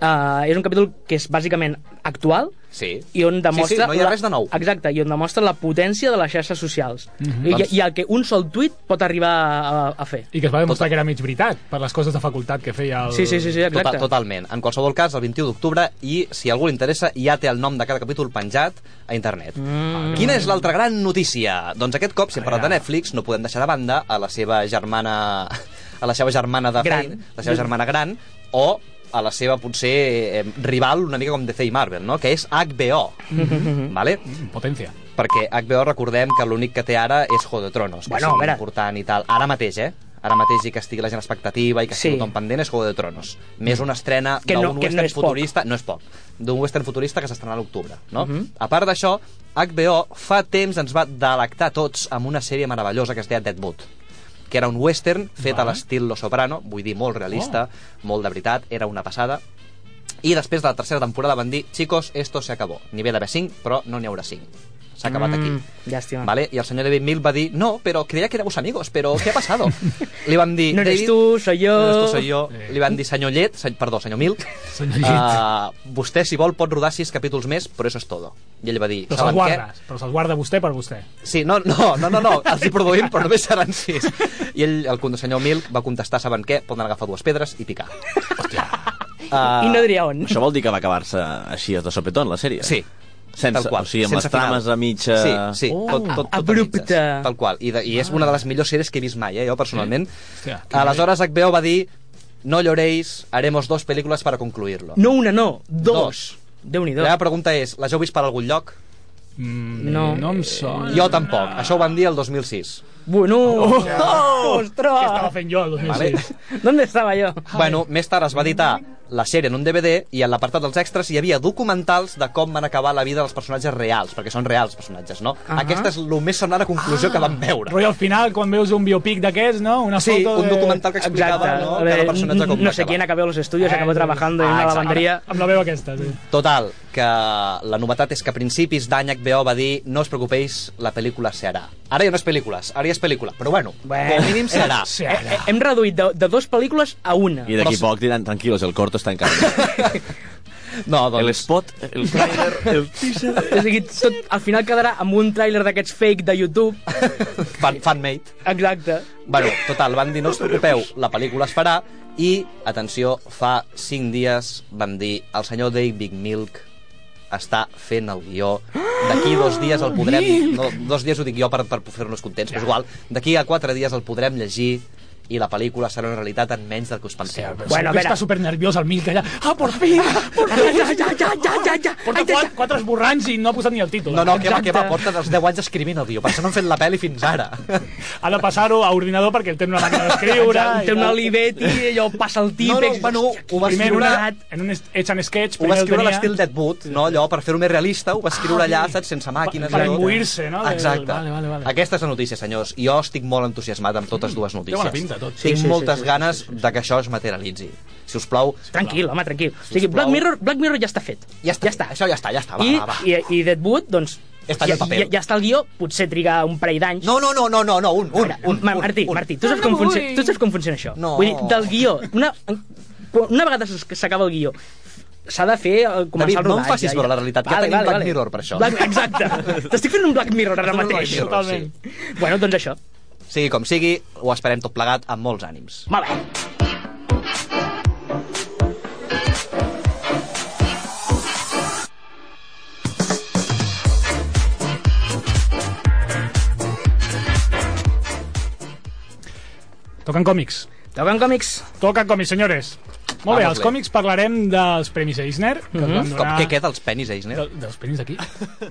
S10: Uh, és un capítol que és bàsicament actual,
S11: Sí.
S10: i on demostra...
S11: Sí, sí, no hi ha
S10: la-
S11: res de nou.
S10: Exacte, i on demostra la potència de les xarxes socials.
S12: Mhm.
S10: I,
S12: Doncs-
S10: I el que un sol tuit pot arribar a, a fer.
S12: I que es va demostrar que era mig veritat per les coses de facultat que feia el...
S11: Total, Tota- totalment. En qualsevol cas, el 21 d'octubre, i si a algú li interessa, ja té el nom de cada capítol penjat a internet. Mm. Quina és l'altra gran notícia? Doncs aquest cop, si hem parlat de Netflix, no podem deixar de banda a la seva germana... a la seva germana de
S10: Gran.
S11: feina, la seva germana gran, o a la seva, potser, eh, rival una mica com DC i Marvel, no? que és HBO. Vale?
S12: Potència.
S11: Perquè HBO recordem que l'únic que té ara és Juego de Tronos, que
S10: Bueno,
S11: bueno,
S10: a veure.
S11: és important i tal. Ara mateix, eh? Ara mateix i que estigui la gent expectativa i que
S10: Sí. Mm.
S11: estigui tothom pendent és Juego de Tronos. Més una estrena
S10: Que no-
S11: d'un
S10: que no
S11: western
S10: és poc.
S11: futurista... No és poc. D'un western futurista que s'estrenarà a l'octubre, no?
S10: Mhm.
S11: A part d'això, HBO fa temps ens va delectar tots amb una sèrie meravellosa que es deia Deadwood que era un western fet a l'estil Lo Soprano, vull dir, molt realista,
S10: Oh.
S11: molt de veritat, era una passada. I després de la tercera temporada van dir, chicos, esto se acabó. N'hi havia d'haver 5, però no n'hi haurà 5. S'ha acabat aquí.
S10: Mm, Llàstima.
S11: ¿Vale? Y el señor David Mills va a decir, no, pero creía que éramos amigos, pero ¿qué ha pasado? Le van a decir,
S10: No eres
S11: "David,
S10: tu, soy yo".
S11: No eres tu, soy yo. Li van dir, senyor Llet, sen, perdó, senyor Mil,
S12: Llet.
S11: uh, vostè, si vol, pot rodar sis capítols més, però eso es todo. I ell va dir,
S12: Però se'ls
S11: saben
S12: guarda,
S11: què?
S12: però se'ls guarda vostè per vostè.
S11: Sí, no, no, no, no, no, els hi produïm, però només seran sis. I ell, el con- senyor Mil, va contestar, saben què? Poden agafar dues pedres i picar. Ah, Hòstia.
S10: I no diria on.
S3: Això vol dir que va acabar-se així de sopetón, la sèrie?
S11: Sí.
S3: Sense,
S11: Tal qual,
S3: o sigui, amb
S11: sense
S3: les trames
S11: final.
S3: a mitja...
S11: Sí, sí. Oh. Tot, tot, tot
S10: Abrupte.
S11: Tal qual. I, de, i és una de les millors sèries que he vist mai, eh, jo, personalment.
S12: Hòstia,
S11: Qué Aleshores HBO va dir no lloréis, haremos dos pel·lícules para concluirlo.
S10: No una, no. Dos.
S11: Dos.
S10: Déu-n'hi-do.
S11: La meva pregunta és, les heu vist per algun lloc?
S10: No.
S12: No em sona.
S11: Jo tampoc. Això ho van dir el 2006.
S10: Bueno, oh,
S12: Què
S10: ostres!
S12: estava fent jo el 2006?
S11: Vale?
S10: ¿Dónde estava jo?
S11: bueno, més tard es va editar la sèrie en un DVD i en l'apartat dels extras hi havia documentals de com van acabar la vida dels personatges reals, perquè són reals personatges, no?
S12: Ah.
S11: Aquesta és el més semblant a conclusió que vam veure.
S12: Rotllo, al final, quan veus un biopic d'aquests, no? Una
S11: Sí,
S12: foto
S11: un
S12: de...
S11: documental que explicava,
S10: Exacte.
S11: no?
S10: De-
S11: Cada personatge com
S10: no
S11: va
S10: sé
S11: acabar.
S10: quién acabó los estudios, acabó trabajando en
S11: Ah,
S10: una
S11: exacte.
S10: lavandería.
S12: Eh, Amb la veu aquesta, sí.
S11: Total, que la novetat és que a principis d'any HBO va dir no us preocupeu, la pel·lícula se harà. Ara ja no és pel·lícules, ara ja és pel·lícula, però bueno, bueno com a mínim se harà.
S10: Eh, eh, Hem reduït de, de dues pel·lícules a una.
S3: I d'aquí poc diran, tranquilos, el corto està encara.
S11: no, doncs...
S3: El spot, el trailer, el teaser...
S10: O sigui, tot, al final quedarà amb un tràiler d'aquests fake de YouTube.
S11: Fan, fanmade.
S10: Exacte.
S11: Bueno, total, van dir no us preocupeu, la pel·lícula es farà i, atenció, fa 5 dies van dir el senyor David Milk està fent el guió. D'aquí dos dies el podrem... No, dos dies ho dic jo per, per fer-nos contents, però és igual. D'aquí a quatre dies el podrem llegir i la pel·lícula serà una realitat en menys del que us penseu.
S12: Bueno, està supernerviós el Milk allà. Ah, por fin! Por fin! Ja, ja, ja, ja, ja, ja. Porta quatre, quatre esborrans i no ha posat ni el títol.
S11: No, no, que va, que va, porta dels 10 anys escrivint el guió. Per això no han fet la pel·li fins ara.
S12: Ha de passar-ho a ordinador perquè el té en una màquina d'escriure. i
S10: Té un
S12: tal.
S10: Olivetti, allò passa el
S11: No, no,
S10: típex.
S11: bueno, ho va
S12: Primer en
S11: escriure...
S12: una- en un est- etch and sketch.
S11: Ho va
S12: primer el
S11: escriure a
S12: tenia-
S11: l'estil Deadwood, no? Allò, per fer-ho més realista, ho va escriure
S12: Ah,
S11: allà,
S12: sí.
S11: saps, sense màquines.
S12: Per
S11: i tot.
S12: imbuir-se, no? Del-
S11: Exacte.
S12: vale, vale, vale.
S11: Aquesta és la notícia, senyors. Jo estic molt entusiasmat amb totes dues notícies.
S12: bona pinta, tot.
S11: Tinc
S12: Sí, sí,
S11: moltes
S12: sí, sí,
S11: ganes de que això es materialitzi. Si us plau...
S10: Tranquil, home, tranquil. O sigui,
S11: Sisplau.
S10: Black Mirror, Black Mirror ja està fet.
S11: Ja està, ja està. això ja està, ja està. Va,
S10: I,
S11: va, va.
S10: i, i Deadwood, doncs,
S11: Està en
S10: ja,
S11: el paper.
S10: ja, ja està el guió, potser triga un parell d'anys.
S11: No, no, no, no, no, no, un, un, un,
S10: Ma- Martí,
S11: un.
S10: Martí, tu saps, com funciona, tu saps com funciona això?
S11: No.
S10: Vull dir, del guió, una, una vegada s- que s'acaba el guió, s'ha de fer eh,
S11: David,
S10: començar el rodatge.
S11: no em facis
S10: ja.
S11: veure la realitat, que tenim Black Mirror per això.
S10: Black, exacte. T'estic fent un Black Mirror ara
S11: Estem fent un
S10: mateix.
S11: Black Mirror, sí.
S10: Bueno, doncs això.
S11: Sigui com sigui, ho esperem tot plegat amb molts ànims.
S10: Molt bé.
S12: Toquen còmics.
S10: Toquen còmics.
S12: Toquen còmics, senyores. Molt
S11: Vamos
S12: bé, els
S11: bé. Uh-huh.
S12: còmics parlarem dels Premis Eisner, que els van
S11: Com,
S12: donar...
S11: què queda els penis Eisner?
S12: del- Dels Premis d'aquí?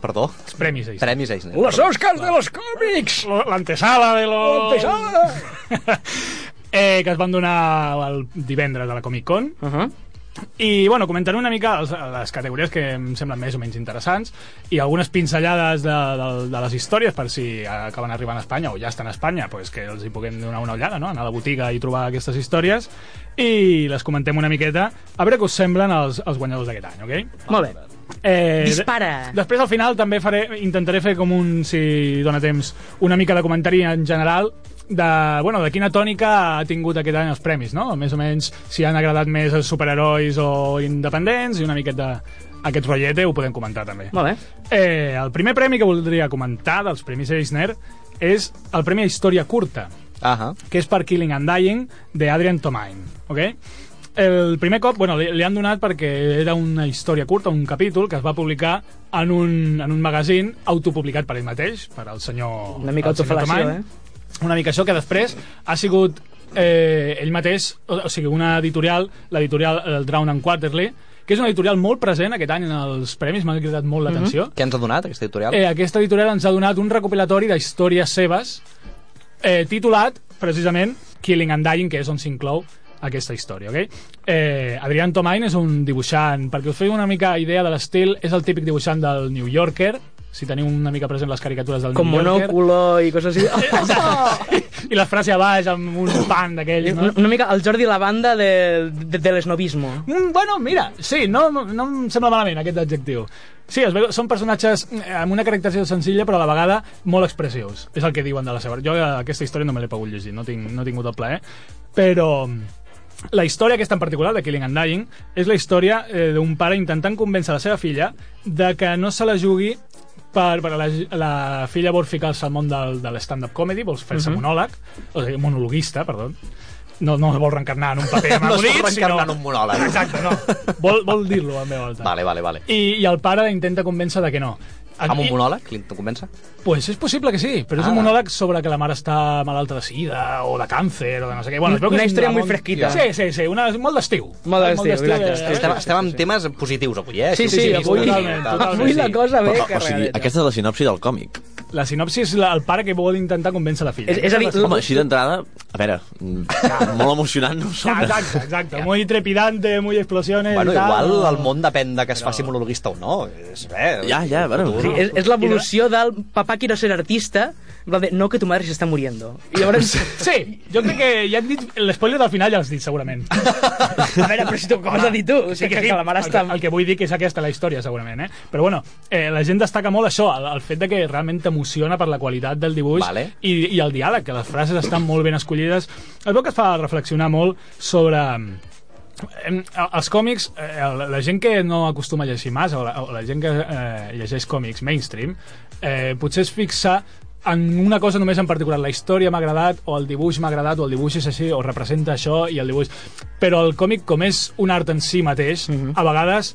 S11: Perdó?
S12: Els Premis Eisner.
S11: Premis Eisner.
S12: Oscars de los còmics! L'antesala de
S10: Oh.
S12: los... L'antesala! eh, que es van donar el divendres de la Comic Con. Uh -huh. I, bueno, comentaré una mica els, les categories que em semblen més o menys interessants i algunes pinzellades de, de, de les històries per si acaben arribant a Espanya o ja estan a Espanya, pues que els hi puguem donar una ullada, no? anar a la botiga i trobar aquestes històries i les comentem una miqueta a veure què us semblen els, els guanyadors d'aquest any, ok?
S10: Molt bé.
S12: Eh,
S10: Dispara.
S12: de- Després, al final, també faré, intentaré fer com un, si dóna temps, una mica de comentari en general de, bueno, de quina tònica ha tingut aquest any els premis, no? Més o menys si han agradat més els superherois o independents i una miqueta aquest rotllete ho podem comentar també.
S10: Molt bé.
S12: Eh, el primer premi que voldria comentar dels Premis Eisner és el Premi a Història Curta,
S11: uh -huh.
S12: que és per Killing and Dying de Adrian Tomain, ok? El primer cop, bueno, li, li han donat perquè era una història curta, un capítol que es va publicar en un, en un magazín autopublicat per ell mateix, per al senyor
S10: Una mica eh?
S12: al senyor
S10: autofal·lació,
S12: Tomain. Una mica això que després ha sigut eh, ell mateix, o, o sigui, una editorial, l'editorial el Drown and Quarterly, que és una editorial molt present aquest any en els premis, m'ha cridat molt
S10: Mhm.
S12: l'atenció.
S11: Què ens ha donat, aquesta editorial?
S12: Eh, aquesta editorial ens ha donat un recopilatori de històries seves eh, titulat, precisament, Killing and Dying, que és on s'inclou aquesta història, ok? Eh, Adrián Tomain és un dibuixant, perquè us feu una mica idea de l'estil, és el típic dibuixant del New Yorker, si teniu una mica present les caricatures del
S10: Com
S12: New Yorker.
S10: monòculo i coses així.
S12: I la frase a baix amb un pan d'aquells, no?
S10: Oh, Una, una mica el Jordi Lavanda de, de, de l'esnovismo.
S12: Mm, bueno, mira, sí, no, no em sembla malament aquest adjectiu. Sí, es veu, són personatges mm, amb una caracterització senzilla però a la vegada molt expressius. És el que diuen de la seva... Jo eh, aquesta història no me l'he pogut llegir, no, tinc, no he tingut el plaer, però mm, la història aquesta en particular, de Killing and Dying, és la història eh, d'un pare intentant convèncer la seva filla de que no se la jugui per, per la, la filla vol ficar-se al món del, de l'stand-up comedy, vol fer-se uh
S11: Mhm.
S12: -huh. monòleg, o sigui, monologuista, perdó, no, no el vol reencarnar en un paper amb
S11: No es vol
S12: acudits,
S11: reencarnar
S12: sinó-
S11: en un monòleg.
S12: Exacte, no. Vol, vol dir-lo en veu alta.
S11: Vale, vale, vale.
S12: I, I el pare la intenta convèncer de que no.
S11: Amb un
S12: I-
S11: monòleg, Clinton comença?
S12: Pues és possible que sí, però és
S11: Ah.
S12: un monòleg sobre que la mare està malalta de sida o de càncer o de no sé què. Bueno, es veu que
S10: Una
S12: és
S10: història
S12: de
S10: muy
S12: món-
S10: fresquita.
S12: Sí, sí, sí, una, molt d'estiu.
S10: Molt d'estiu, exacte,
S12: eh,
S11: Estem, estem amb temes positius avui, eh?
S12: Sí, sí,
S11: Optimistes
S12: avui
S11: i
S12: totalment,
S11: tal.
S12: totalment. Avui la cosa ve
S3: o sigui,
S12: carregadeta.
S3: aquesta és la sinopsi del còmic.
S12: eh, La sinopsi és la, el pare que vol intentar convèncer la filla.
S3: Home, així d'entrada, a veure, mm, molt emocionant no
S12: Ah,
S3: sona.
S12: Exacte, exacte. Muy trepidante, muy explosiones
S11: Bueno,
S12: i tal.
S11: igual el món depèn de que es faci monologuista o no. És, eh,
S3: Ja, ja, bueno.
S10: Sí, és és l'evolució del papà quiero ser artista, en plan de, no, que tu madre se está muriendo. I llavors...
S12: Sí, jo crec que ja han dit... L'espoiler del final ja l'has dit, segurament.
S10: A veure, però si tu com has de dir tu? O sigui, que, que la mare està...
S12: El, que- el que vull dir que és aquesta la història, segurament, eh? Però bueno, eh, la gent destaca molt això, el, el fet de que realment t'emociona per la qualitat del dibuix
S11: Vale.
S12: i, i el diàleg, que les frases estan molt ben escollides. Es veu que es fa reflexionar molt sobre... Em, a- els còmics, eh, la- la gent que no acostuma a llegir massa, o la, o la gent que eh, llegeix còmics mainstream, eh, potser es fixa en una cosa només en particular, la història m'ha agradat, o el dibuix m'ha agradat, o el dibuix és així, o representa això, i el dibuix... Però el còmic, com és un art en si mateix, a vegades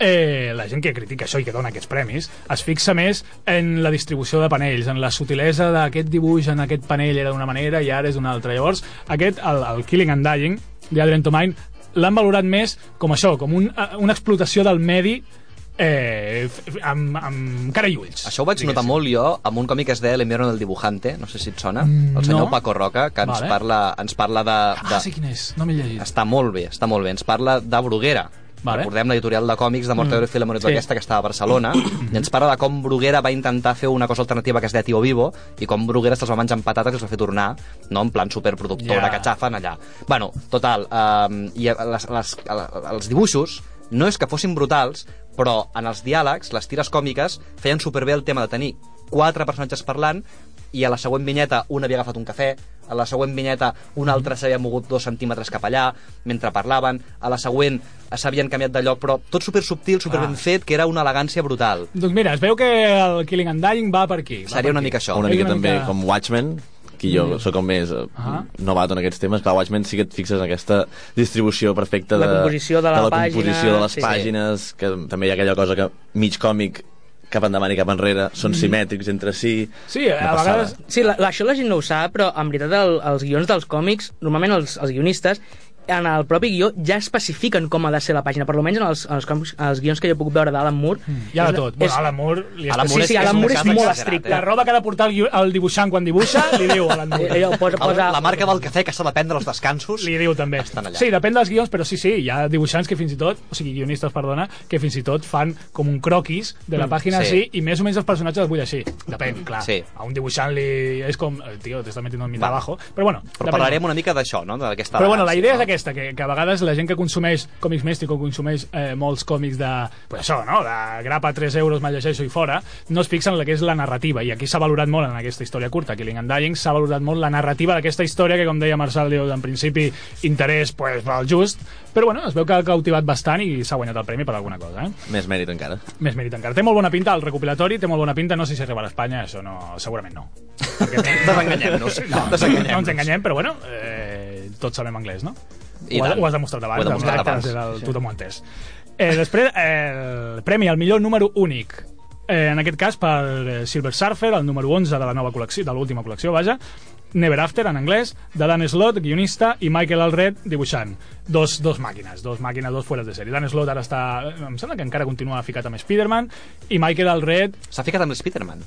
S12: eh, la gent que critica això i que dona aquests premis es fixa més en la distribució de panells, en la sutilesa d'aquest dibuix en aquest panell era d'una manera i ara és d'una altra. Llavors, aquest, el, el Killing and Dying, de Adrian Tomain, l'han valorat més com això, com un, eh, una explotació del medi eh, f- f- amb, amb cara i ulls.
S11: Això ho vaig notar molt jo amb un còmic que es deia El invierno del dibujante, no sé si et sona, el senyor
S12: Mm, no.
S11: Paco Roca, que ens
S12: Vale.
S11: parla, ens parla de... de...
S12: Ah, sí, quin és? No m'he llegit.
S11: Està molt bé, està molt bé. Ens parla de Bruguera.
S12: Vale.
S11: Vale. Recordem l'editorial de còmics de Mortadelo
S12: Mm.
S11: mm. i Filemón
S12: Sí. Mm-hmm.
S11: sí. aquesta que estava a Barcelona i ens parla de com Bruguera va intentar fer una cosa alternativa que es deia Tio Vivo i com Bruguera se'ls va menjar amb patates i els va fer tornar no? en plan superproductora
S12: Ja.
S11: yeah. que xafen allà. Bueno, total, um, i les, les, els dibuixos no és que fossin brutals, però en els diàlegs, les tires còmiques, feien superbé el tema de tenir quatre personatges parlant i a la següent vinyeta un havia agafat un cafè, a la següent vinyeta un altre s'havia mogut dos centímetres cap allà mentre parlaven, a la següent s'havien canviat de lloc, però tot super subtil, super ben fet, que era una elegància brutal.
S12: Doncs mira, es veu que el Killing and Dying va per aquí. Va
S11: Seria
S12: per
S11: una
S12: aquí.
S11: mica això.
S3: Una
S12: És
S3: mica
S12: una
S3: també
S12: mica-
S3: com Watchmen, que
S10: Mm.
S3: jo sóc com més uh
S12: Ah.
S3: novato en aquests temes, clar, Watchmen sí que et fixes en aquesta distribució perfecta de,
S10: La composició de la
S3: la
S10: pàgina,
S3: composició de les
S10: sí, sí.
S3: pàgines, que també hi ha aquella cosa que mig còmic cap endavant i cap enrere, són
S10: Mm.
S3: simètrics entre si... Una
S10: a
S3: passada.
S10: vegades... Sí, la, la, això la gent no ho sap, però en veritat el, els guions dels còmics, normalment els, els guionistes, en el propi guió ja especifiquen com ha de ser la pàgina, per almenys en els, en els, còmics, els guions que jo puc veure d'Alan Moore. Mm.
S12: Hi ha de tot. Bueno, Alan Moore... Li
S10: Alan
S12: està-
S10: Moore sí, sí, Alan Moore és molt estricte.
S12: La roba que ha de portar el, guio- el dibuixant quan dibuixa, li diu a Alan Moore.
S10: Ella ho eh, posa- posa-
S11: La marca del cafè que s'ha de prendre als descansos
S12: li diu també.
S11: estan allà.
S12: Sí, depèn dels guions, però sí, sí, hi ha dibuixants que fins i tot, o sigui, guionistes, perdona, que fins i tot fan com un croquis de la
S11: Mm,
S12: pàgina
S11: sí.
S12: així i més o menys els personatges els vull així. Depèn, clar.
S11: Sí.
S12: A un dibuixant li... és com, eh, tio, te estás metiendo en mi
S11: Va.
S12: trabajo. Però bueno,
S11: Però
S12: depèn.
S11: parlarem una mica d'això, no? d'aquesta
S12: Però bueno, la
S11: elegància,
S12: idea
S11: no?
S12: és aquesta, que, que a vegades la gent que consumeix còmics mèstics o consumeix eh, molts còmics de, pues això, no? de grapa 3 euros, me'l llegeixo i fora, no es fixen en la que és la narrativa, i aquí s'ha valorat molt en aquesta història curta, Killing and Dying, s'ha valorat molt la narrativa d'aquesta història, que com deia Marçal, dius, en principi, interès, pues, pel just, però bueno, es veu que ha cautivat bastant i s'ha guanyat el premi per alguna cosa, eh?
S3: Més mèrit encara.
S12: Més mèrit encara. Té molt bona pinta el recopilatori, té molt bona pinta, no sé si arribarà a Espanya, això no, segurament no.
S11: Desenganyem-nos.
S12: No,
S11: Desenganyem-nos.
S12: no ens enganyem, però bueno, eh, tots sabem anglès, no?
S11: I
S12: ho, ha-
S11: tant.
S12: ho has demostrat abans.
S11: Ho he demostrat
S12: amb
S11: abans.
S12: l'acte del
S11: Sí.
S12: Tothom ho ha entès. Eh, després, eh, el premi al millor número únic. Eh, en aquest cas per eh, Silver Surfer, el número 11 de la nova col·lecció, de l'última col·lecció, vaja, Never After, en anglès, de Dan Slott, guionista, i Michael Alred, dibuixant. Dos, dos màquines, dos màquines, dos fueres de sèrie. Dan Slott ara està... eh, Em sembla que encara continua ficat amb Spider-Man, i Michael Alred...
S11: S'ha ficat amb Spider-Man,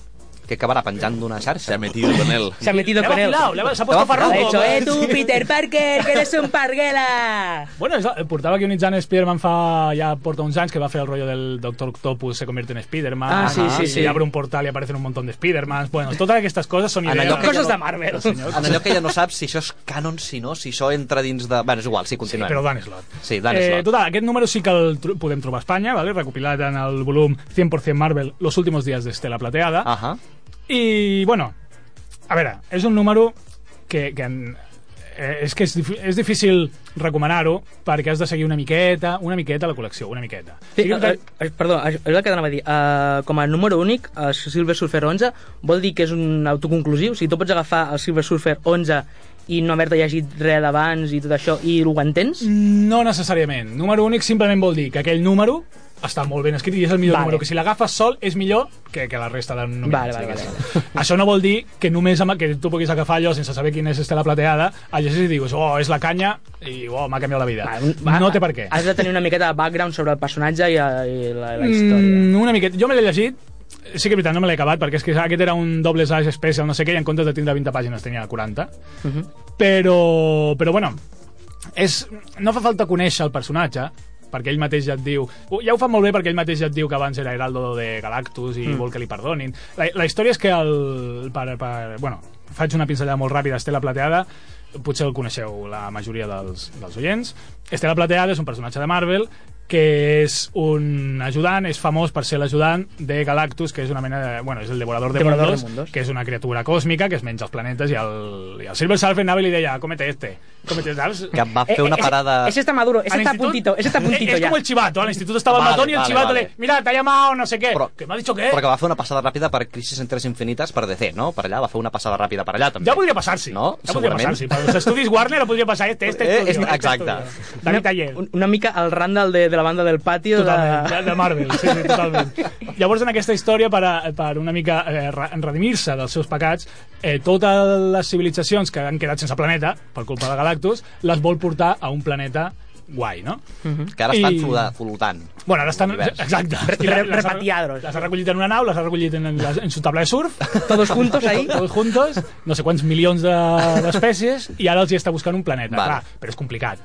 S11: que acabarà penjant d'una xarxa. S'ha
S3: metido con él.
S10: Se ha metido
S12: Le ha
S10: con él.
S12: vacilado, le ha- se ha
S10: Le
S12: puesto
S10: ha vacilado.
S12: farruco.
S10: Ha dicho, eh, tú, Peter Parker, que eres un parguela.
S12: Bueno, és, portava guionitzant Spider-Man fa ja porta uns anys que va fer el rollo del Doctor Octopus se convierte en Spider-Man
S10: Ah, sí, sí,
S12: i
S10: sí.
S12: abre un portal i aparecen un montón de Spider-Mans bueno, totes aquestes coses són
S11: En
S12: idees
S11: allò que ja no-
S10: Marvel.
S11: En allò que ja no saps si això és canon, si no, si això entra dins de... Bueno, és igual, sí, continuem.
S12: Sí, però Dan Slott.
S11: Sí, Dan Slott.
S12: Eh, total, aquest número sí que el tro- podem trobar a Espanya, ¿vale? recopilat en el volum 100% Marvel, Los últimos días de Estela Plateada.
S11: Ajá.
S12: I, bueno, a veure, és un número que, que en, eh, és que és, dif és difícil recomanar-ho perquè has de seguir una miqueta, una miqueta la col·lecció, una miqueta.
S10: Sí,
S12: Sigui
S10: eh,
S12: que-
S10: eh, perdó, això és el que t'anava a dir. Uh, com a número únic, el Silver Surfer 11 vol dir que és un autoconclusiu. Si tu pots agafar el Silver Surfer 11 i no haver-te llegit res d'abans i tot això i ho entens,
S12: Mm. No necessàriament. Número únic simplement vol dir que aquell número està molt ben escrit i és el millor
S10: Vale.
S12: número, que si l'agafes sol és millor que, que la resta de
S10: Vale,
S12: nominats.
S10: vale,
S12: diguéssim.
S10: vale,
S12: Això no vol dir que només amb, que tu puguis agafar allò sense saber quina és Estela Plateada, el llegeixes i dius, oh, és la canya, i oh, m'ha canviat la vida.
S10: va,
S12: no té per què.
S10: has de tenir una miqueta de background sobre el personatge i, i la, la història.
S12: Mm, una miqueta. Jo me l'he llegit, sí que és veritat, no me l'he acabat, perquè és que aquest era un doble slash especial, no sé què, i en comptes de tindre 20 pàgines tenia 40.
S10: Uh -huh.
S12: però, però bueno és, no fa falta conèixer el personatge perquè ell mateix ja et diu "Oh, ja ho fa molt bé perquè ell mateix ja et diu que abans era Heraldo de Galactus i
S10: Mm.
S12: mm. vol que li perdonin la, la història és que el, per, per, bueno, faig una pinzellada molt ràpida Estela Plateada potser el coneixeu la majoria dels, dels oients Estela Plateada és un personatge de Marvel que és un ajudant, és famós per ser l'ajudant de Galactus, que és una mena de... Bueno, és el devorador de,
S10: Devorador de
S12: mundos,
S10: mundos.
S12: que és una criatura còsmica que es menja els planetes i el, i el Silver Surfer anava i li deia comete este, comete saps?
S11: Que em va
S12: Eh,
S11: fer una parada...
S10: Ese está maduro,
S12: Al
S10: ese está a
S12: institut-
S10: puntito, ese está a puntito
S12: Es, es
S10: ya.
S12: como el chivato, al instituto estaba
S11: Vale,
S12: el matón y el
S11: vale,
S12: chivato
S11: vale.
S12: le, mira, te ha llamado no sé qué,
S11: Però-
S12: que me ha dicho que...
S11: Però que va fer una passada ràpida per Crisis en Tres Infinites per DC, no? Per allà, va fer una passada ràpida per allà, també.
S12: Ja podria passar-s'hi.
S11: No?
S12: Ja podria
S11: Segurament.
S12: passar-s'hi. Per als estudis Warner podria passar este, este
S11: Eh,
S12: estudio.
S11: este-
S12: este
S11: exacte.
S12: estudio. David Ayer.
S10: Un- Una mica al Randall de, de la banda del patio.
S12: Totalment,
S10: de...
S12: de, de Marvel, sí, sí, totalment. Llavors, en aquesta història, per, a, per una mica eh, re- redimir-se dels seus pecats, eh, totes les civilitzacions que han quedat sense planeta, per culpa de Galactus, les vol portar a un planeta guai, no?
S11: Que ara estan
S12: I-
S11: flota- flotant.
S12: Bueno, ara estan...
S11: L'univers.
S12: Exacte. I la- les ha- Les ha recollit en una nau, les ha recollit en, en, la- en su tabla de surf.
S10: Todos juntos ahí.
S12: Todos juntos, no sé quants milions de- d'espècies, i ara els hi està buscant un planeta.
S11: Vale.
S12: Clar, però és complicat,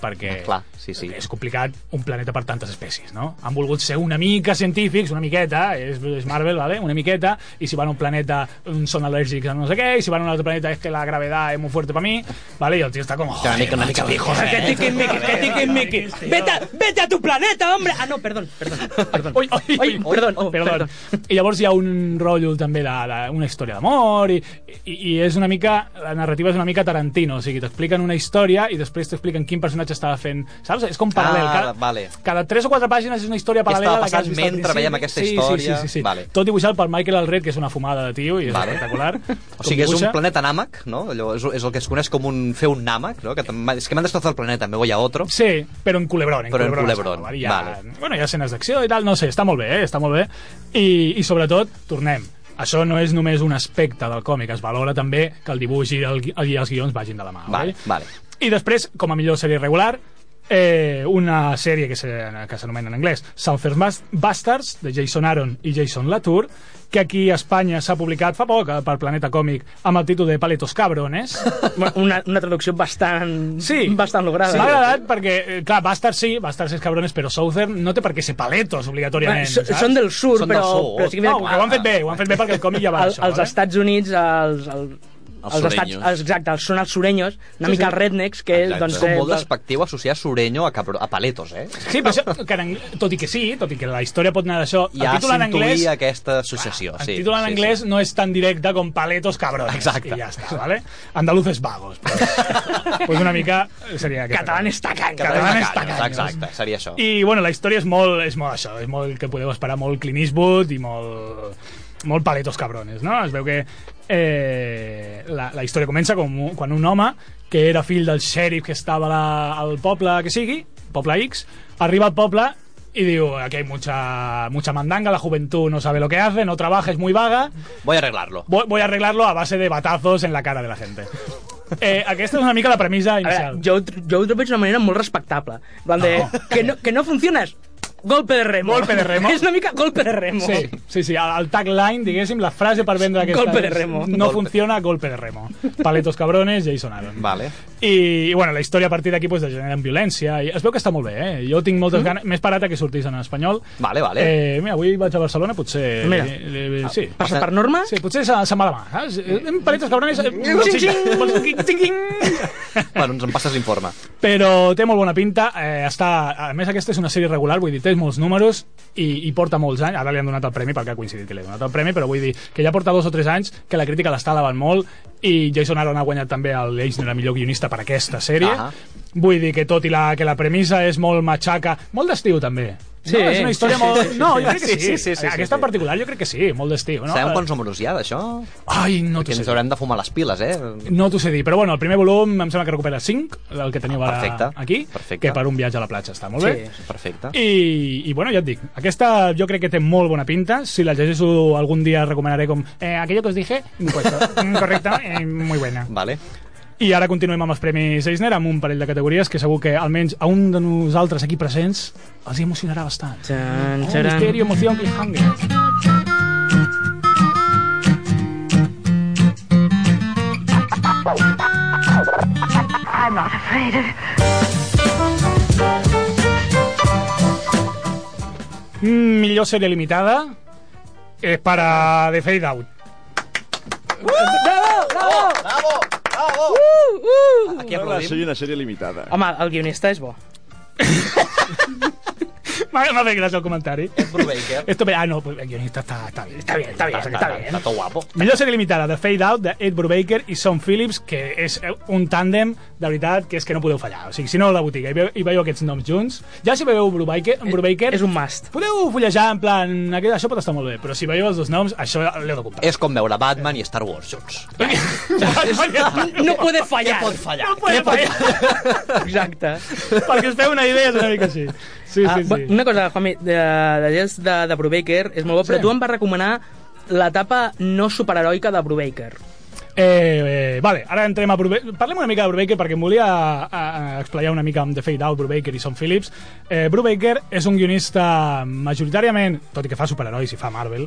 S12: perquè
S11: Ah, Clar, sí, sí.
S12: és complicat un planeta per tantes espècies, no? Han volgut ser una mica científics, una miqueta, és, és Marvel, vale? una miqueta, i si van a un planeta mm, són al·lèrgics a no sé què, i si van a un altre planeta és que la gravedad és molt fuerte para mi, vale? i el tio està com...
S11: Que una mica, una mica viejo, eh?
S10: Que tiquismiquis, que tiquismiquis. Vete, a- vete a tu planeta, hombre. Ah, no, perdón, perdón, perdón.
S12: Ui, ui,
S10: Ai, perdón, oh, perdón.
S12: I llavors hi ha un rotllo també d'una història d'amor i, i, i és una mica, la narrativa és una mica Tarantino, o sigui, t'expliquen una història i després t'expliquen quin personatge estava fent, saps? És com paral·lel,
S11: Ah,
S12: cada,
S11: vale.
S12: cada 3 o 4 pàgines és una història
S11: Què
S12: paral·lela
S11: estava
S12: a la que has
S11: passant
S12: vist al
S11: mentre veiem aquesta
S12: principi. Sí, sí,
S11: història?
S12: Sí, sí, sí, sí.
S11: Vale.
S12: Tot dibuixat per Michael Alred, que és una fumada de tio i és
S11: Vale.
S12: espectacular.
S11: O sigui, és un
S12: dibuixa.
S11: planeta nàmac, no? Allò és, és el que es coneix com un... fer un nàmac, no? Que tam- és que m'han destrozat el planeta, me voy a otro.
S12: Sí, però en Culebrón. En
S11: Però en
S12: Culebrón.
S11: Culebrón,
S12: Vale, ja,
S11: vale.
S12: Bueno, hi ha escenes d'acció i tal, no sé, està molt bé, eh? està molt bé. I, I sobretot, tornem, això no és només un aspecte del còmic, es valora també que el dibuix i, el, gui- i els guions vagin de la mà.
S11: Vale, vale.
S12: I després, com a millor sèrie regular, eh, una sèrie que se- que s'anomena en anglès Southern Bas- Bastards, de Jason Aaron i Jason Latour, que aquí a Espanya s'ha publicat fa poc eh, per Planeta Còmic amb el títol de Paletos Cabrones.
S10: Bueno, Una, una traducció bastant, sí. bastant lograda.
S12: Sí, M'ha agradat perquè, eh, clar, Bastards sí, Bastards és cabrones, però Southern no té per què ser paletos, obligatòriament.
S10: Bueno, so-
S12: saps?
S10: són del sud, Són del però- sud. però sí que-
S12: No, que ho han fet bé, ho han fet bé perquè el còmic ja va
S10: Al,
S12: d'això,
S10: als
S12: eh?
S10: Estats Units, als, al,
S3: Els
S10: els estats,
S3: sureños.
S10: els, exacte, els, són els surenyos, una
S12: Sí,
S10: mica
S12: sí.
S10: els rednecks, que és, doncs,
S11: Doncs com
S10: eh,
S11: molt
S10: la-
S11: despectiu associar Sureño a, capro, a paletos, eh?
S12: Sí, però això, que en anglès, tot i que sí, tot i que la història pot anar d'això, el
S11: Ja
S12: títol en anglès,
S11: s'intuïa aquesta associació.
S12: el
S11: sí,
S12: títol en
S11: sí,
S12: anglès no és tan directe com paletos cabrones. Exacte. I ja està, vale? Andaluces vagos. Però, pues una mica seria aquest.
S10: Catalanes tacaños.
S12: Catalanes
S11: Catalanes
S12: tacaños.
S11: tacaños, exacte, seria això.
S12: I, bueno, la història és molt, és molt això, és molt que podeu esperar molt Clint Eastwood i molt, molt paletos cabrones, no? Es veu que eh, la, la història comença com un- quan un home que era fill del xèrif que estava a la, al poble que sigui, poble X, arriba al poble y digo, aquí hay mucha, mucha mandanga, la juventud no sabe lo que hace, no trabaja, es muy vaga,
S11: Voy a arreglarlo.
S12: voy, voy a arreglarlo a base de batazos en la cara de la gente. Eh, aquesta és una mica la premissa
S10: A
S12: inicial.
S10: veure, jo, ho tr- jo ho trobo d'una manera molt respectable. En Plan de, que, no, que no funciones, golpe de remo.
S12: Golpe de remo.
S10: és una mica golpe de remo.
S12: Sí, sí, sí, el, el tagline, diguéssim, la frase per vendre aquesta...
S10: Golpe de
S12: és,
S10: remo.
S12: No
S10: Golpe.
S12: funciona, golpe de remo. Paletos cabrones, Jason Aaron.
S11: Vale.
S12: I, i bueno, la història a partir d'aquí pues, degenera en violència. I es veu que està molt bé, eh? Jo tinc
S10: Mm-hmm.
S12: moltes mm. ganes... M'he esperat a que sortís en espanyol.
S11: Vale, vale.
S12: Eh, mira, avui vaig a Barcelona, potser...
S10: Mira. Ah.
S12: Li, li, li, sí.
S10: Passa per norma?
S12: Sí, potser se, se m'ha demà, saps? Eh, Paletos cabrones... eh,
S10: Xing, xing, xing, xing.
S11: Bueno, ens en passes l'informe.
S12: però té molt bona pinta eh, està, a més aquesta és una sèrie regular vull dir, té molts números i, i porta molts anys ara li han donat el premi perquè ha coincidit que li ha donat el premi però vull dir que ja porta dos o tres anys que la crítica l'està alabant molt i Jason Aaron ha guanyat també el Eisner a millor guionista per aquesta sèrie
S11: Ahà.
S12: vull dir que tot i la, que la premissa és molt matxaca molt d'estiu també
S11: Sí,
S12: no, és una història
S11: sí, sí,
S12: molt...
S11: sí, sí,
S12: no,
S11: sí.
S12: jo crec que sí.
S11: Sí, sí, sí, sí,
S12: Aquesta
S11: sí.
S12: en particular jo crec que sí, molt d'estiu. No?
S11: No, Sabem quants números hi ha d'això?
S12: Ai, eh, no t'ho
S11: Perquè
S12: sé. Mm.
S11: ens haurem de fumar les piles, eh?
S12: No t'ho sé dir, però bueno, el primer volum em sembla que recupera 5, el que teniu ara
S11: Perfecte.
S12: aquí,
S11: Perfecte.
S12: que per un viatge a la platja està molt bé.
S11: Perfecte.
S12: I, I bueno, ja et dic, aquesta jo crec que té molt bona pinta, si la llegeixo algun dia recomanaré com eh, aquello que us dije, pues, mm, correcte, eh, muy buena.
S11: Vale.
S12: I ara continuem amb els Premis Eisner, amb un parell de categories que segur que almenys a un de nosaltres aquí presents els hi emocionarà bastant.
S10: Txan,
S12: oh,
S10: txaran.
S12: misteri, emoció, cliffhanger.
S9: I'm not afraid of
S12: Mm, Millor sèrie limitada és per a The Fade Out.
S10: Bravo, bravo!
S11: Bravo! Bravo!
S10: Uh, uh.
S13: Aquí aplaudim. Soy una sèrie limitada.
S10: Home, el guionista és bo.
S12: M'ha m'ha fet gràcia el comentari.
S11: Brubaker.
S12: Esto, ah, no, pues el guionista està, està bien, está bien, está bien, está, bien.
S11: Està tot guapo.
S12: Millor sèrie limitada, The Fade Out, de Ed Brubaker i Sean Phillips, que és eh, un tàndem, de veritat, que és que no podeu fallar. O sigui, si no, a la botiga, i veieu, i veieu aquests noms junts, ja si veieu Brubaker...
S11: Eh,
S12: Brubaker és
S10: un must.
S12: Podeu fullejar en plan, aquest, això pot estar molt bé, però si veieu els dos noms, això l'heu de comprar.
S11: És com veure Batman i Star Wars junts.
S10: No puede fallar.
S11: Què pot fallar?
S10: No puede fallar. Exacte. Ah,
S12: Perquè us feu una idea, és una mica així. Sí,
S11: Ah,
S12: sí, sí.
S10: Una cosa, Fami, de, de, Gels de, de Brubaker és molt bo, però
S12: Sí.
S10: tu em vas recomanar l'etapa no superheroica de Brubaker.
S12: Eh, eh, vale, ara entrem a Brubaker. Parlem una mica de Brubaker perquè em volia a, a, explayar una mica amb The Fade Out, Brubaker i Son Phillips. Eh, Brubaker és un guionista majoritàriament, tot i que fa superherois i fa Marvel,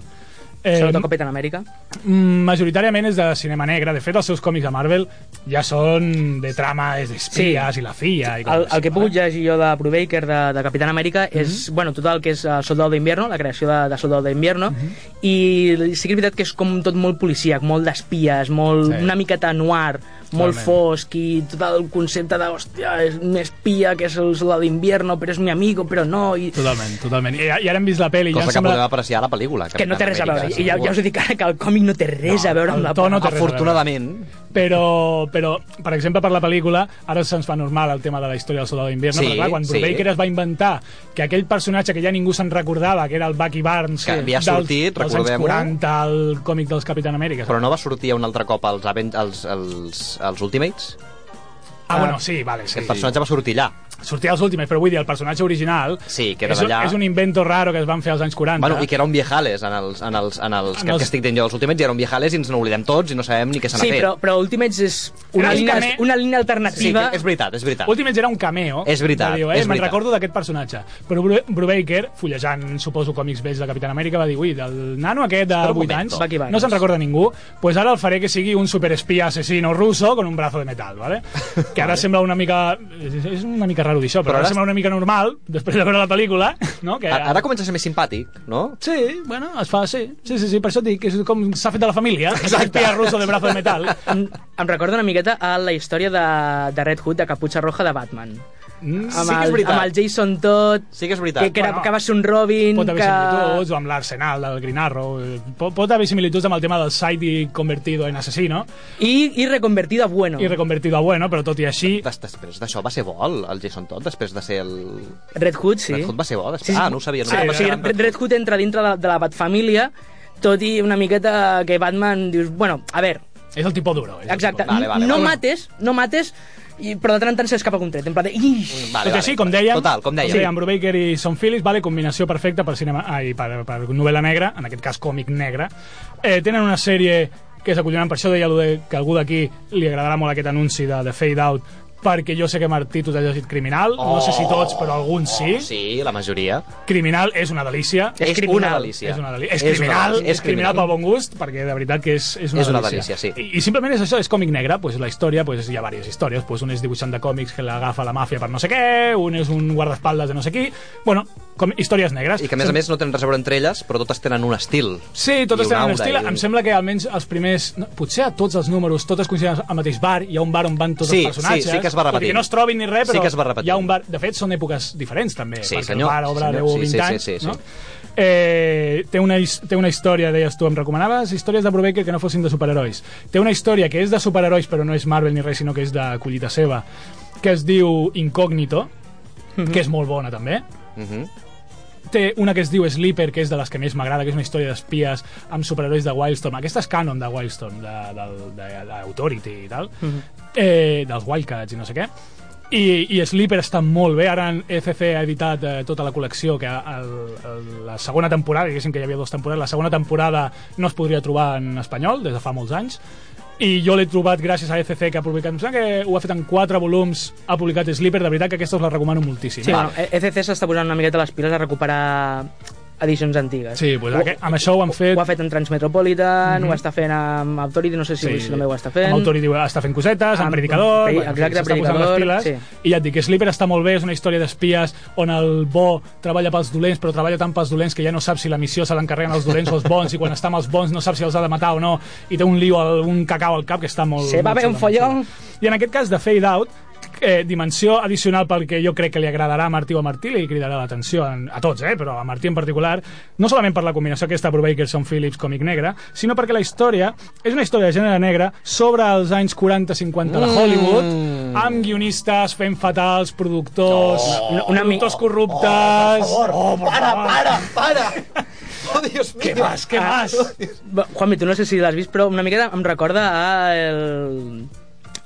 S10: Eh,
S12: eh,
S10: Sobretot Capitán Amèrica.
S12: mm, majoritàriament és de cinema negre. De fet, els seus còmics de Marvel ja són de trama d'espies i la CIA. I
S10: El, el que he pogut llegir jo de Brubaker, de, de Capitán Amèrica,
S12: Mhm.
S10: és, bueno, tot el que és el Soldado d'Invierno, la creació de, de Soldado d'Invierno,
S12: Mhm.
S10: i sí que és veritat que és com tot molt policíac, molt d'espies, molt,
S12: Sí.
S10: una miqueta noir, molt
S12: Totalment.
S10: fosc, i tot el concepte de, hòstia, és un espia que és el Soldado d'Invierno, però és mi amigo, però no... I...
S12: Totalment, totalment. I, I ara hem vist la pel·li i ja
S11: Cosa
S12: em
S11: que
S12: sembla...
S11: podem apreciar a la pel·lícula.
S10: Que no té res a veure. I ja, ja us
S11: he
S10: he dit ara que el còmic no té res a veure amb la...
S12: no té res a veure.
S11: Afortunadament,
S12: Però, però, per exemple, per la pel·lícula, ara se'ns fa normal el tema de la història del Soldado d'Invierno,
S11: Sí,
S12: però clar, quan
S11: sí.
S12: Brubaker es va inventar que aquell personatge que ja ningú se'n recordava, que era el Bucky Barnes, eh,
S11: Que havia sortit,
S12: dels anys
S11: recordem-ho.
S12: 40, el còmic dels Capitán Amèrica.
S11: però no va sortir un altre cop als, Aven- als, als, als Ultimates?
S12: Ah, bueno, sí, vale, sí.
S11: Aquest personatge va sortir allà.
S12: Sortia als últims, però vull dir, el personatge original
S11: Sí, que era
S12: és, un-
S11: d'allà.
S12: és un invento raro que es van fer als anys 40.
S11: Bueno, i que era un viejales en els, en els, en els
S12: En
S11: que,
S12: els-
S11: que estic dient jo dels Ultimates, i era un viejales i ens n'oblidem tots i no sabem ni què se n'ha
S10: Sí,
S11: fet.
S10: però, però Ultimates és una,
S12: Era
S10: línia,
S12: també-
S10: una línia
S11: Sí,
S10: alternativa...
S11: que és veritat, és veritat.
S12: Últims era un cameo.
S11: És veritat,
S12: de Dir, eh?
S11: és
S12: Me'n
S11: veritat.
S12: recordo d'aquest personatge. Però Bru- Brubaker, fullejant, suposo, còmics vells de Capitán Amèrica, va dir, ui, del nano aquest de
S11: Espera un
S12: 8
S11: momento.
S12: anys,
S11: Bucky Barnes.
S12: no se'n recorda ningú, pues ara el faré que sigui un superespia asesino russo con un brazo de metal, ¿vale? Que ara sembla una mica... És és una mica mica raro dir això, però,
S11: Però
S12: però
S11: ara-
S12: ara sembla una mica normal, després de veure la pel·lícula, no? Que
S11: Ara comença a ser més simpàtic, no?
S12: Sí, bueno, es fa, sí. Sí, sí, sí, per això et dic, que és com s'ha fet de la família. Exacte. Espia russo de brazo de metal.
S10: Em, em recorda una miqueta a la història de, de Red Hood, de Caputxa Roja, de Batman.
S11: Ah,
S12: Mm,
S10: Amb el- amb el Jason Todd...
S11: Sí que és veritat.
S10: Que, que, era, que va ser un Robin...
S12: Pot haver
S10: que...
S12: similituds, o amb l'arsenal del Green Arrow, eh, pot, pot haver similituds amb el tema del Saidi convertido en asesino.
S10: I, I reconvertido a bueno.
S12: I reconvertido a bueno, però tot i així...
S11: Des, després d'això va ser bo el, el Jason Todd, després de ser el...
S10: Red Hood, sí.
S11: Red Hood va ser bo, després...
S10: Sí, sí.
S11: Ah, no ho sabia. No
S10: Sí,
S11: sabia
S10: o sigui,
S11: que era
S10: Red, Red Hood entra dintre de, de la Bat-família, tot i una miqueta que Batman dius... Bueno, a veure...
S12: És el tipus duro.
S10: Exacte.
S11: Vale, vale,
S10: no
S11: vale.
S10: mates, no mates, i, però de tant en tant s'escapa un tret. En plan de... Ix!
S12: Vale, tot i així, com dèiem,
S11: Total, com dèiem.
S12: Sí. dèiem Brubaker i Son Phillips, vale, combinació perfecta per, cinema, ai, per, per novel·la negra, en aquest cas còmic negre. Eh, tenen una sèrie que és acollonant, per això deia allò de, que algú d'aquí li agradarà molt aquest anunci de, de Fade Out, perquè jo sé que Martí tu t'has llegit Criminal, oh, no sé si tots, però alguns sí.
S11: Sí, la majoria.
S12: Criminal és una delícia.
S11: És És criminal. una delícia.
S12: És, una delícia.
S11: És
S12: és
S11: una
S12: criminal,
S11: delícia.
S12: és criminal
S11: És criminal.
S12: pel bon gust, perquè de veritat que és, és una
S11: És una
S12: delícia.
S11: delícia, sí.
S12: I, I simplement és això, és còmic negre, pues, la història, pues, hi ha diverses històries, pues, un és dibuixant de còmics que l'agafa la màfia per no sé què, un és un guardaespaldes de no sé qui, bueno, com, històries negres.
S11: I que, a més a més, no tenen res a veure entre elles, però totes tenen un estil.
S12: Sí,
S11: I
S12: totes tenen
S11: aura
S12: un estil.
S11: i
S12: Em sembla que almenys els primers... No, potser a tots els números, totes coincideixen al mateix bar, hi ha un bar on van tots
S11: Sí,
S12: els personatges.
S11: sí, sí que es va
S12: Tot i
S11: repetint.
S12: que no es trobin ni res,
S11: Sí
S12: però
S11: que es va repetint.
S12: hi ha un bar... De fet, són èpoques diferents, també.
S11: Sí,
S12: perquè
S11: senyor,
S12: El bar
S11: sí, senyor.
S12: obre 10 o
S11: Sí,
S12: 20
S11: sí, sí,
S12: anys,
S11: sí, sí.
S12: no? Eh, té, una, his- té una història, deies tu, em recomanaves històries de Brubaker que no fossin de superherois. Té una història que és de superherois, però no és Marvel ni res, sinó que és de collita seva, que es diu Incógnito, que és molt bona, també
S11: Mhm.
S12: té una que es diu Sleeper, que és de les que més m'agrada, que és una història d'espies amb superherois de Wildstorm. Aquesta és canon de Wildstorm, de, de, de, de Authority i tal, mm -hmm. eh, dels Wildcats i no sé què. I, i Sleeper està molt bé, ara en FF ha editat eh, tota la col·lecció que el, el, la segona temporada, diguéssim que hi havia dues temporades, la segona temporada no es podria trobar en espanyol des de fa molts anys i jo l'he trobat gràcies a FF que ha publicat, em sembla que ho ha fet en quatre volums, ha publicat Sleeper, de veritat que aquesta us la recomano moltíssim.
S10: Sí, E-, bueno, ECC s'està posant una miqueta les piles a recuperar edicions antigues.
S12: Sí, pues,
S10: Ho-
S12: aquest- amb això ho han fet...
S10: Ho ha fet en Transmetropolitan,
S12: Mhm.
S10: ho està fent amb Authority, no sé si, sí. si també ho està fent.
S12: Amb Authority està fent cosetes, amb,
S10: Amb-
S12: Predicador...
S10: Pre-
S12: bueno, en fi,
S10: exacte,
S12: s'està posant
S10: Predicador,
S12: les piles, I ja et dic, Sleeper està molt bé, és una història d'espies on el bo treballa pels dolents, però treballa tant pels dolents que ja no sap si la missió se l'encarreguen els dolents o els bons, i quan està amb els bons no sap si els ha de matar o no, i té un lío, al- un cacau al cap que està molt...
S10: Se va
S12: molt
S10: bé un
S12: xulo, molt
S10: follón.
S12: xulo. I en aquest cas de Fade Out, eh, dimensió addicional pel que jo crec que li agradarà a Martí o a Martí, li cridarà l'atenció en- a tots, eh, però a Martí en particular, no solament per la combinació aquesta Brubaker-Son Phillips còmic negre, sinó perquè la història és una història de gènere negre sobre els anys 40-50 de
S10: Mm.
S12: Hollywood, amb guionistes fent fatals, productors,
S10: Oh. Una- una mi-
S12: productors corruptes... Oh, per favor, oh, per para, favor. para,
S11: para! Oh, Dios mío!
S12: Què vas, què
S11: Ah,
S12: vas?
S10: Ah, Oh, Va, Juanmi, tu no sé si l'has vist, però una miqueta em recorda a el...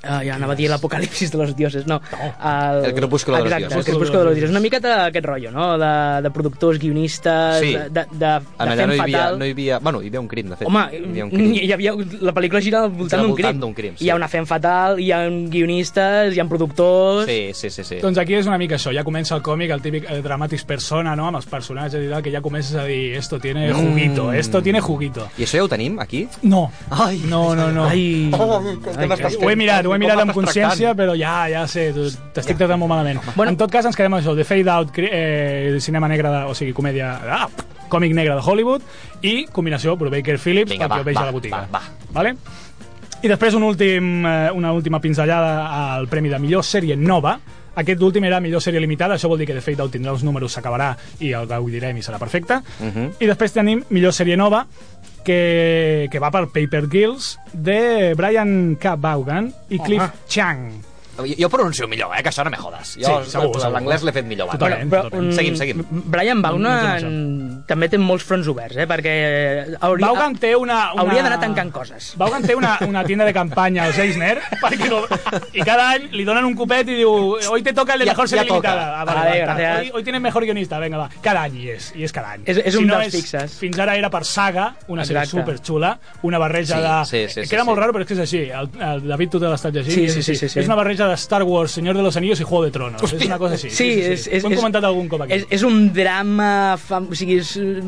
S10: Ah, ja anava a dir l'apocalipsis de los dioses, no. El,
S11: El crepúsculo de los
S10: Exacte,
S11: dioses.
S10: el crepúsculo de los dioses. Una miqueta aquest rotllo, no? De, de productors, guionistes,
S11: Sí.
S10: de, de, de,
S11: En
S10: de
S11: allà
S10: fent
S11: no hi, havia,
S10: fatal.
S11: no hi havia... Bueno, hi havia un crim, de fet.
S10: Home, mm,
S11: hi havia un crim.
S10: hi havia, la pel·lícula gira al voltant
S11: Gira al
S10: d'un
S11: voltant
S10: crim.
S11: d'un crim, sí.
S10: Hi ha una fent fatal, hi ha guionistes, hi ha productors...
S11: Sí, sí, sí. sí.
S12: Doncs aquí és una mica això, ja comença el còmic, el típic eh, dramàtic persona, no?, amb els personatges i tal, que ja comences a dir, esto tiene juguito, esto tiene juguito.
S11: I això ja ho tenim, aquí?
S12: No. Ai, no, no, no.
S11: Ai,
S10: Ai,
S11: m'estàs
S12: ho he
S11: fent?
S12: mirat, ho he
S11: Com
S12: mirat amb
S11: m'estàs
S12: consciència, però ja, ja sé, tu- t'estic tractant molt malament. Bueno, en tot cas, ens quedem amb això, The Fade Out, cri- eh, cinema negre, de, o sigui, comèdia... Ah, còmic negre de Hollywood i combinació Brubaker-Phillips,
S11: Vinga,
S12: el que
S11: va,
S12: ho veig
S11: va,
S12: a la botiga.
S11: va,
S12: Vale? I després un últim, eh, una última pinzellada al Premi de Millor Sèrie Nova. Aquest últim era millor sèrie limitada, això vol dir que de Fade Out tindrà uns números, s'acabarà i el gaudirem i serà perfecte. I després tenim millor sèrie nova, que, que va per Paper Girls, de Brian K. Vaughan i Cliff Chang.
S11: Jo, jo pronuncio millor, eh, que això no me jodas. Jo,
S12: Sí, segur, segur.
S11: L'anglès l'he fet millor. abans.
S12: Totalment, Però, però, totalment.
S11: Seguim, seguim.
S10: Mm, Brian
S12: Mm,
S10: Baughan també té molts fronts oberts, eh? Perquè hauria,
S12: Vaughan té una... una...
S10: hauria d'anar tancant coses.
S12: Vaughan té una, una tienda de campanya als Eisner perquè no... i cada any li donen un copet i diu hoy te toca el de
S10: Ja-
S12: mejor
S10: ja
S12: serie
S10: toca.
S12: limitada. Ah,
S10: Vale,
S12: va,
S10: gràcies.
S12: hoy, hoy tienes mejor guionista, venga, va. Cada any hi és, i és cada any.
S10: És- és un dels
S12: és-
S10: fixes.
S12: Fins ara era per Saga, una sèrie
S10: Exacte.
S12: superxula, una barreja
S10: Sí,
S12: de... eh,
S10: sí, sí, sí,
S12: Queda molt
S10: sí.
S12: raro, però és que és així. El, el David, tu te l'estàs llegint.
S10: Sí,
S12: i és
S10: sí, sí,
S12: així.
S10: sí, sí.
S12: És una barreja de Star Wars, Senyor de los Anillos i Juego de Tronos. És una cosa així.
S10: Sí, és, és,
S12: Ho hem
S10: és,
S12: comentat algun cop aquí.
S10: És, és un drama... Fam... O sigui, és, eh,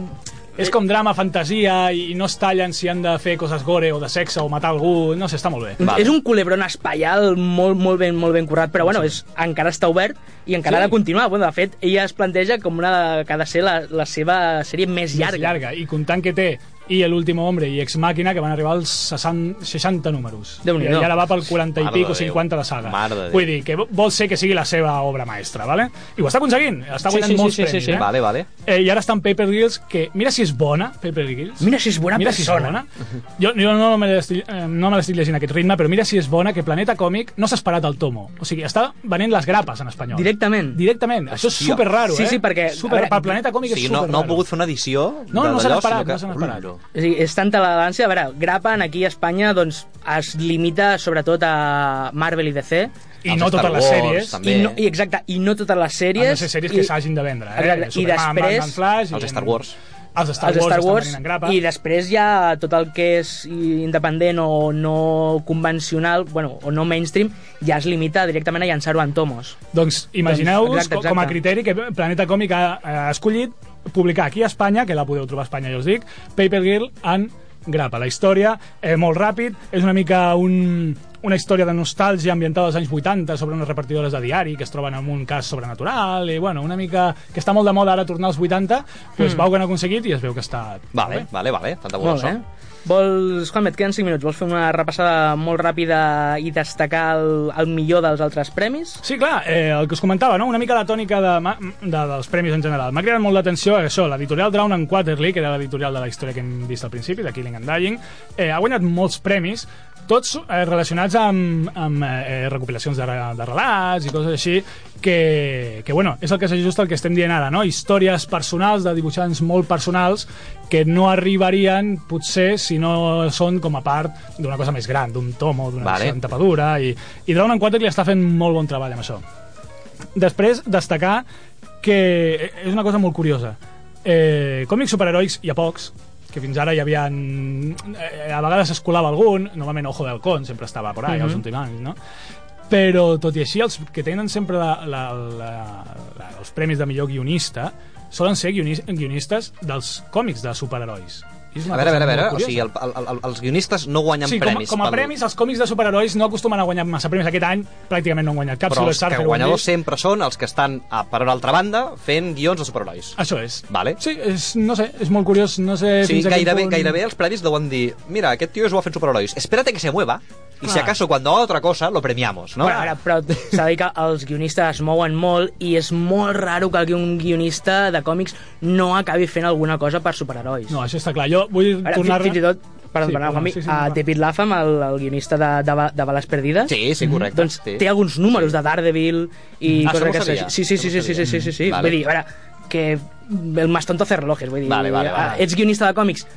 S12: És com drama, fantasia, i no es tallen si han de fer coses gore o de sexe o matar algú, no sé, està molt bé.
S10: Vale. És un culebron espaial molt, molt, ben, molt ben currat, però bueno, és, encara està obert i encara
S12: Sí.
S10: sí. ha de continuar. Bueno, de fet, ella es planteja com una que ha de ser la, la seva sèrie més
S12: Més
S10: llarga.
S12: llarga. I comptant que té i El último hombre i Ex Màquina, que van arribar als 60, 60 números. I
S10: Déu-n'hi-do.
S12: ara va pel 40 i
S10: Mare
S12: pico,
S10: de Déu.
S12: 50 de saga.
S11: Mare de Déu.
S12: Vull dir, que vol ser que sigui la seva obra maestra, vale? I ho està aconseguint, està guanyant molts premis, eh?
S11: Vale, vale.
S12: Eh, I ara està en Paper Girls, que mira si és bona, Paper Girls.
S10: Mira si és bona
S12: mira
S10: persona.
S12: Si és bona. Jo, jo no me l'estic eh, no me l'estic llegint a aquest ritme, però mira si és bona que Planeta Còmic no s'ha esperat al tomo. O sigui, està venent les grapes en espanyol.
S10: Directament.
S12: Directament. Això és
S11: Hòstia.
S12: super raro,
S10: Sí,
S12: eh?
S10: sí, perquè-
S12: Super,
S10: a veure-
S12: pel Planeta Còmic
S11: Sí,
S12: és
S11: no,
S12: super
S11: no ha pogut fer una edició
S12: No,
S11: de-
S12: no se
S11: d'allò,
S12: n'ha esperat,
S11: sinó que-
S12: no se n'ha esperat.
S11: Ui,
S10: O sigui, és tanta la dansa, a veure, Grapan aquí a Espanya doncs, es limita sobretot a Marvel i DC.
S12: I no totes les sèries.
S10: I, no, i exacte, i no totes les sèries.
S12: Han de ser sèries que s'hagin de vendre, eh?
S10: Exacte, i
S12: Superman, Batman,
S10: després...
S12: Flash, i- Els Star
S11: Wars.
S12: Els Star
S10: els
S12: Wars,
S10: Star
S12: estan
S10: Wars
S12: venint en grapa.
S10: i després hi ha tot el que és independent o no convencional bueno, o no mainstream ja es limita directament a llançar-ho en tomos
S12: Doncs Imagineu-vos
S10: Exacte,
S12: co- com a
S10: exacte.
S12: criteri que Planeta Còmic ha, eh, ha escollit publicar aquí a Espanya, que la podeu trobar a Espanya, ja us dic, Paper Girl en grapa. La història, eh, molt ràpid, és una mica un, una història de nostàlgia ambientada als anys 80 sobre unes repartidores de diari que es troben en un cas sobrenatural i, bueno, una mica que està molt de moda ara tornar als 80, doncs
S10: Mm.
S12: vau que han aconseguit i es veu que està...
S11: Vale, vale, vale. Tanta bola
S10: Molt
S11: això.
S10: bé. Vols, Juan, et queden 5 minuts. Vols fer una repassada molt ràpida i destacar el, el millor dels altres premis?
S12: Sí, clar, eh, el que us comentava, no? una mica la tònica de, ma- de, dels premis en general. M'ha cridat molt l'atenció això, l'editorial Drown and Quarterly, que era l'editorial de la història que hem vist al principi, de Killing and Dying, eh, ha guanyat molts premis, tots eh, relacionats amb, amb eh, recopilacions de, re- de relats i coses així, que, que bueno, és el que s'ajusta al que estem dient ara, no? històries personals de dibuixants molt personals que no arribarien, potser, si no són com a part d'una cosa més gran, d'un tomo, d'una
S11: Vale.
S12: vale. tapadura, i, i Drown and Quarterly està fent molt bon treball amb això. Després, destacar que eh, és una cosa molt curiosa. Eh, còmics superheroics hi ha pocs, que fins ara hi havia... Eh, a vegades es colava algun, normalment Ojo de Halcón sempre estava por ahí,
S13: Mhm.
S12: els últims anys, no? Però, tot i així, els que tenen sempre la, la, la, la, els premis de millor guionista solen ser guionis, guionistes dels còmics de superherois. I és
S11: A
S12: una
S11: veure, a
S12: cosa
S11: veure, a veure.
S12: molt
S11: O sigui, el, el, el, els guionistes no guanyen
S12: sí, com,
S11: premis.
S12: a- com a
S11: pel-
S12: premis, els còmics de superherois no acostumen a guanyar massa premis. Aquest any pràcticament no han guanyat cap.
S11: però
S12: Silver
S11: els que
S12: Surfer ho hem
S11: guanyadors
S12: vist.
S11: sempre són els que estan, a, per una altra banda, fent guions de superherois.
S12: Això és.
S11: Vale.
S12: Sí, és, no sé, és molt curiós, no sé...
S11: Sí,
S12: fins a quin
S11: gairebé,
S12: punt-
S11: gairebé els premis deuen dir mira, aquest tio és bo fent superherois, espérate que se mueva y si
S10: Clar.
S11: acaso cuando haga otra cosa lo premiamos, no?
S10: No? Però, però s'ha de dir que els guionistes es mouen molt i és molt raro que un guionista de còmics no acabi fent alguna cosa per superherois.
S12: No, això està clar. Jo vull
S10: Ara,
S12: tornar...
S10: Fins i tot, perdó,
S12: Sí,
S10: sí, perdó,
S12: perdona,
S10: Juanmi,
S12: sí, sí,
S10: a
S12: endavant.
S10: David Laffam, el, el guionista de, de, Ba- de Bales Perdides,
S11: Sí, sí, correcte.
S10: doncs
S11: sí.
S10: té alguns números de Daredevil i
S11: Ah, això
S10: coses
S11: no ho
S10: que...
S11: sabia,
S10: s'hagi- Sí, sí,
S11: això
S10: sí,
S11: no
S10: sí,
S11: ho
S10: sí, sí,
S11: sabia. Mm.
S10: sí, sí, sí.
S11: Vale.
S10: Vull dir, a veure, que el más tonto hacer relojes, vull dir,
S11: Vale, vale, vale.
S10: ah, ets guionista de còmics,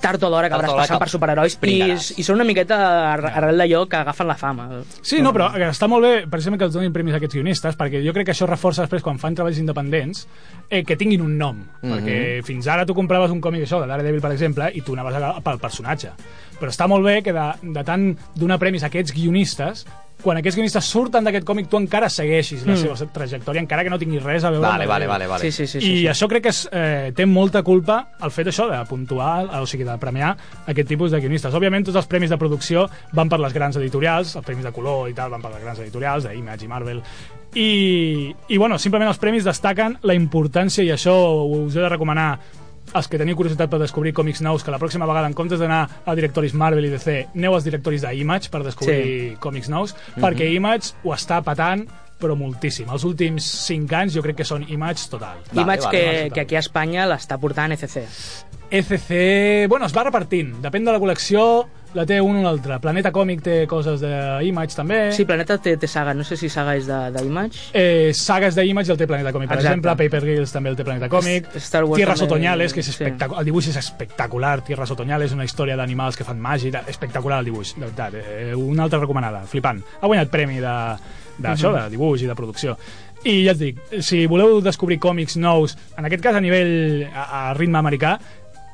S10: tard o d'hora
S11: Tard o
S10: acabaràs
S11: d'hora
S10: passant
S11: acab-
S10: per superherois i,
S11: pringaràs.
S10: i són una miqueta ar- arrel d'allò que agafen la fama.
S12: Sí, no, però eh, està molt bé, per exemple, que els donin premis a aquests guionistes, perquè jo crec que això reforça després, quan fan treballs independents, eh, que tinguin un nom.
S11: Mhm.
S12: Perquè fins ara tu compraves un còmic això, de Daredevil, per exemple, i tu anaves a, pel personatge. Però està molt bé que de, de tant donar premis a aquests guionistes, quan aquests guionistes surten d'aquest còmic, tu encara segueixis la
S11: Mm.
S12: seva trajectòria, encara que no tinguis res a veure...
S11: Vale,
S12: amb
S11: vale,
S12: Daredevil.
S11: vale, vale. Sí, sí, sí,
S12: I
S11: sí, sí.
S12: això crec que és, eh, té molta culpa el fet això de puntuar, o sigui, de premiar aquest tipus de guionistes. Òbviament, tots els premis de producció van per les grans editorials, els premis de color i tal van per les grans editorials, d'Image i Marvel, i, i bueno, simplement els premis destaquen la importància, i això us he de recomanar els que teniu curiositat per descobrir còmics nous, que la pròxima vegada, en comptes d'anar a directoris Marvel i DC, aneu als directoris d'Image per descobrir sí. còmics nous,
S13: Mhm.
S12: perquè Image ho està patant però moltíssim. Els últims 5 anys jo crec que són Image total.
S10: Vale, Image vale, que, vale. que aquí a Espanya l'està portant ECC.
S12: ECC... Bueno, es va repartint. Depèn de la col·lecció, la té un o l'altre. Planeta Còmic té coses d'Image, també.
S10: Sí, Planeta té, té saga, no sé si saga és de- d'Image.
S12: Eh, sagues d'Image el té Planeta Còmic. Per
S10: Exacte.
S12: exemple, Paper Girls també el té Planeta Còmic.
S10: Star Wars
S12: Tierras
S10: també-
S12: Otoñales, que és
S10: sí.
S12: espectacular. El dibuix és espectacular. Tierras Otoñales, una història d'animals que fan màgia. i tal. Espectacular el dibuix, de veritat. Eh, una altra recomanada, flipant. Ha guanyat premi de- d'això, de,
S13: Mhm.
S12: de dibuix i de producció. I ja et dic, si voleu descobrir còmics nous, en aquest cas a nivell a, a ritme americà,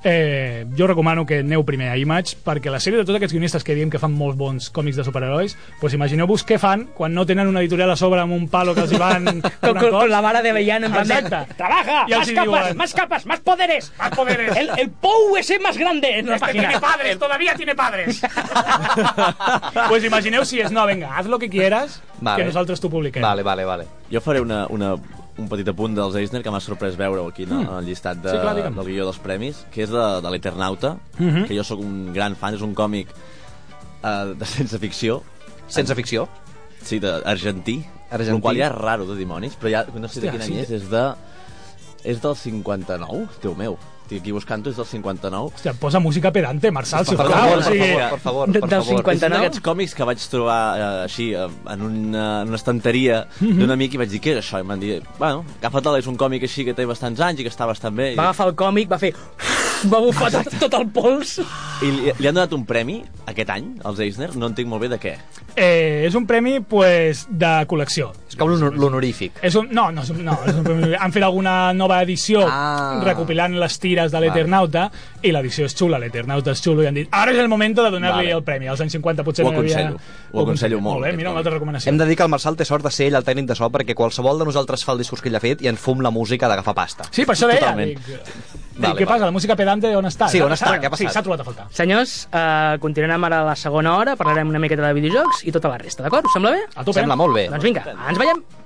S12: Eh, jo recomano que aneu primer a Image perquè la sèrie de tots aquests guionistes que diem que fan molt bons còmics de superherois, doncs imagineu-vos què fan quan no tenen una editorial a sobre amb un palo que els hi van...
S10: Con, con- con la vara de avellana en plan de,
S12: Exacte.
S10: ¡Trabaja!
S12: I els
S10: ¡Más
S12: hi
S10: capas!
S12: diuen-
S10: ¡Más capas! ¡Más poderes! ¡Más poderes! El, el POU es el más grande en la página.
S12: padres, todavía tiene padres. pues imagineu si és, no, venga, haz lo que quieras,
S3: Vale.
S12: que nosaltres t'ho publiquem.
S3: Vale, vale, vale. Jo faré una, una, un petit apunt dels Eisner que m'ha sorprès veure aquí no?
S12: Mm.
S3: en el llistat de,
S12: Sí,
S3: sí,
S12: clar,
S3: clar,
S12: digue'm.
S3: del guió dels premis, que és de, de l'Eternauta,
S12: Mhm.
S3: que jo sóc un gran fan, és un còmic uh, de sense ficció. Sense ficció? Sí, de, argentí, argentí. El qual ja és raro de dimonis, però ja no sé de
S12: Hòstia,
S3: quin any
S12: sí.
S3: és, és de... És del 59, Déu meu. Estic aquí buscant-ho, és del 59.
S12: Hòstia, posa música pedante, Marçal,
S3: Per
S12: sisplau.
S3: favor,
S12: o
S3: per
S12: sigui,
S3: favor, per favor, per favor. És un
S12: 59?
S3: d'aquests còmics que vaig trobar eh, així, eh, en una, en una estanteria
S10: Mhm.
S3: d'un amic i vaig dir, què és això? I m'han dit, bueno, agafa-te'l, és un còmic així que té bastants anys i que està bastant bé. I,
S10: Va agafar el còmic, va fer... Va bufar tot, tot el pols.
S3: i li, li han donat un premi aquest any, als Eisner, no entenc molt bé de què.
S12: Eh, és un premi, pues, de col·lecció.
S3: És com l'honorífic.
S12: És un, no, no, és un, no, és un premi. Han fet alguna nova edició ah. recopilant les tires de l'Eternauta i l'edició és xula, l'Eternauta és xulo i han dit ara és el moment de donar-li
S11: Vale.
S12: el premi. Als anys 50 potser
S11: Ho
S12: no hi havia...
S11: aconsello, ho aconsello molt.
S12: Molt bé, mira, una altra recomanació.
S11: Hem de dir que el Marçal té sort de ser ell el tècnic de so perquè qualsevol de nosaltres fa el discurs que ell ha fet i en fum la música d'agafar pasta.
S12: Sí, per això deia.
S11: Totalment.
S12: Dic, dic,
S11: Vale, vale.
S12: què passa? La música pedante on està?
S11: Sí, on està? Què ha
S12: Sí,
S11: passat?
S12: s'ha trobat a faltar.
S10: Senyors, eh, continuarem ara a la segona hora, parlarem una miqueta de videojocs i tota la resta, d'acord? Us sembla bé?
S12: A tope. Sembla molt bé.
S10: Doncs vinga, ens veiem.